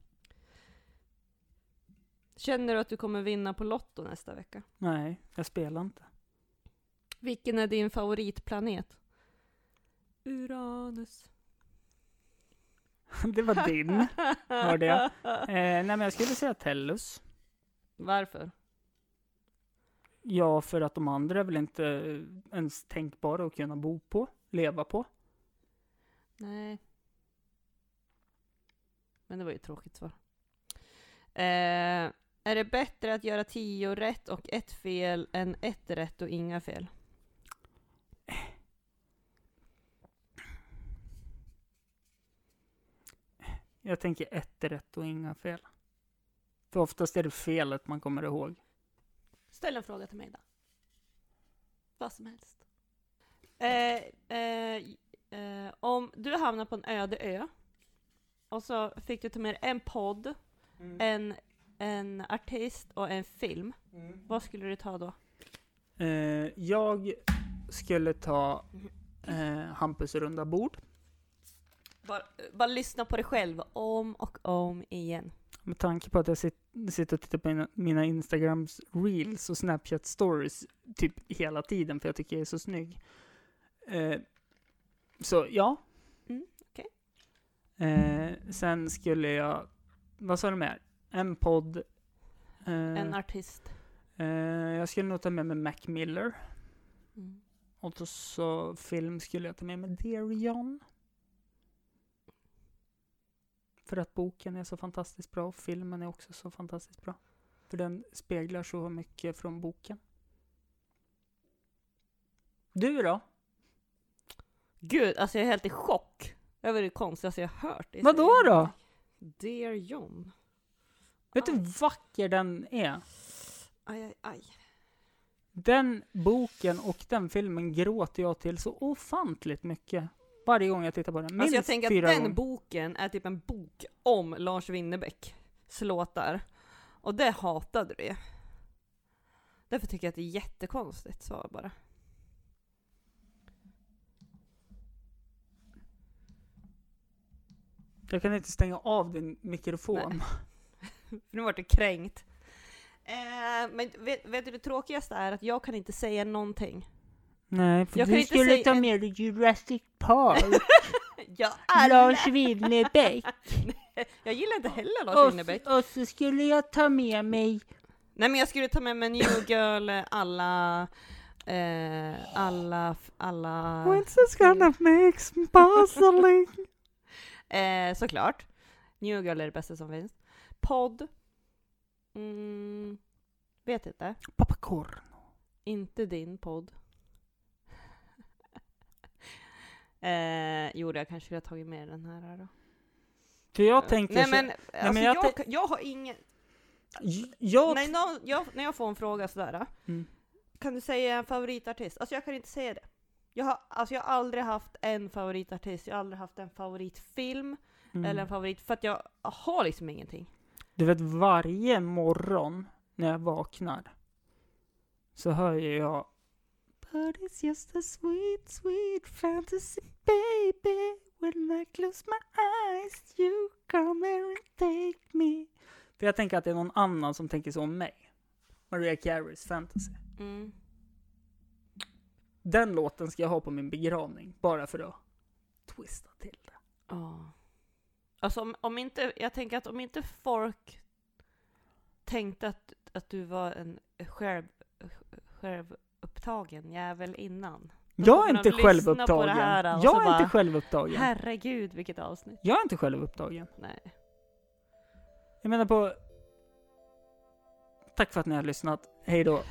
Speaker 3: Känner du att du kommer vinna på Lotto nästa vecka?
Speaker 1: nej, jag spelar inte.
Speaker 3: Vilken är din favoritplanet? Uranus.
Speaker 1: Det var din. eh, Hörde jag. nej, men jag skulle säga Tellus.
Speaker 3: Varför?
Speaker 1: Ja, för att de andra är väl inte eh, ens tänkbara att kunna bo på, leva på.
Speaker 3: Nej. Men det var ju ett tråkigt svar. Eh, är det bättre att göra tio rätt och ett fel än ett rätt och inga fel?
Speaker 1: Jag tänker ett är rätt och inga fel. För oftast är det felet man kommer ihåg.
Speaker 3: Ställ en fråga till mig då. Vad som helst. Eh, eh, eh, om du hamnar på en öde ö och så fick du ta med dig en podd, en, en artist och en film. Vad skulle du ta då?
Speaker 1: Eh, jag skulle ta eh, Hampus runda bord.
Speaker 3: Bara, eh, bara lyssna på dig själv om och om igen.
Speaker 1: Med tanke på att jag sit, sitter och tittar på mina, mina Instagrams reels och Snapchat stories typ hela tiden för jag tycker jag är så snygg. Eh, så ja.
Speaker 3: Mm, okej.
Speaker 1: eh, sen skulle jag, vad sa du mer? En podd. Eh,
Speaker 3: En artist.
Speaker 1: eh, jag skulle nog ta med mig Mac Miller.
Speaker 3: Mm.
Speaker 1: Och så, så film skulle jag ta med mig Dear John. För att boken är så fantastiskt bra och filmen är också så fantastiskt bra. För den speglar så mycket från boken. Du då?
Speaker 3: Gud, alltså jag är helt i chock över det konstigaste jag hört. Det är så-
Speaker 1: Vadå då?
Speaker 3: Dear John.
Speaker 1: Vet du
Speaker 3: Aj.
Speaker 1: hur vacker den är?
Speaker 3: Aj, Alltså aj, aj.
Speaker 1: Den boken och den filmen gråter jag till så ofantligt mycket. Varje gång jag tittar på den. Minst
Speaker 3: Alltså jag tänker
Speaker 1: fyra
Speaker 3: att den
Speaker 1: gånger.
Speaker 3: boken är typ en bok om Lars Winnerbäcks låtar. Och det hatade du ju. Därför tycker jag att det är jättekonstigt svar bara.
Speaker 1: Jag kan inte stänga av din mikrofon.
Speaker 3: För nu vart du kränkt. Eh, men vet, vet du det tråkigaste är att jag kan inte säga någonting.
Speaker 1: Nej, för
Speaker 3: Jag kan
Speaker 1: du
Speaker 3: inte
Speaker 1: skulle
Speaker 3: säga
Speaker 1: ta
Speaker 3: en-
Speaker 1: med dig Jurassic Park,
Speaker 3: Jag, alla,
Speaker 1: Lars Winnerbäck.
Speaker 3: jag gillar inte heller Lars Winnerbäck.
Speaker 1: och, och så skulle jag ta med mig...
Speaker 3: Nej men jag skulle ta med mig New Girl, alla, eh, alla, alla,
Speaker 1: When's this gonna make some puzzling?
Speaker 3: eh, såklart. New Girl är det bästa som finns. Podd. Mm, vet inte.
Speaker 1: Pappa Korn.
Speaker 3: Inte din podd. eh, jo, jag kanske skulle ha tagit med den här då.
Speaker 1: För jag tänker
Speaker 3: nej,
Speaker 1: så...
Speaker 3: men, alltså,
Speaker 1: men jag
Speaker 3: jag,
Speaker 1: tänk-
Speaker 3: kan- jag har ingen,
Speaker 1: J- Jag...
Speaker 3: Nej, någon, jag, när jag får en fråga sådär,
Speaker 1: Mm.
Speaker 3: kan du säga en favoritartist? Alltså jag kan inte säga det. Jag har, alltså jag har aldrig haft en favoritartist, jag har aldrig haft en favoritfilm,
Speaker 1: Mm.
Speaker 3: eller en favorit för att jag har liksom ingenting.
Speaker 1: Du vet, varje morgon när jag vaknar så hör ju jag But it's just a sweet, sweet fantasy baby When I close my eyes you come here and take me För jag tänker att det är någon annan som tänker så om mig. Maria Careys fantasy.
Speaker 3: Mm.
Speaker 1: Den låten ska jag ha på min begravning, bara för att twista till det.
Speaker 3: Ja. Alltså om, om inte, jag tänker att om inte folk tänkte att, att du var en själv, självupptagen jävel innan. Då
Speaker 1: Jag
Speaker 3: kommer
Speaker 1: är
Speaker 3: de
Speaker 1: inte
Speaker 3: lyssna på det
Speaker 1: självupptagen.
Speaker 3: här och så
Speaker 1: Jag är
Speaker 3: bara,
Speaker 1: inte självupptagen.
Speaker 3: Herregud vilket avsnitt.
Speaker 1: Jag är inte självupptagen.
Speaker 3: Nej.
Speaker 1: Jag menar på... Tack för att ni har lyssnat. Hej då.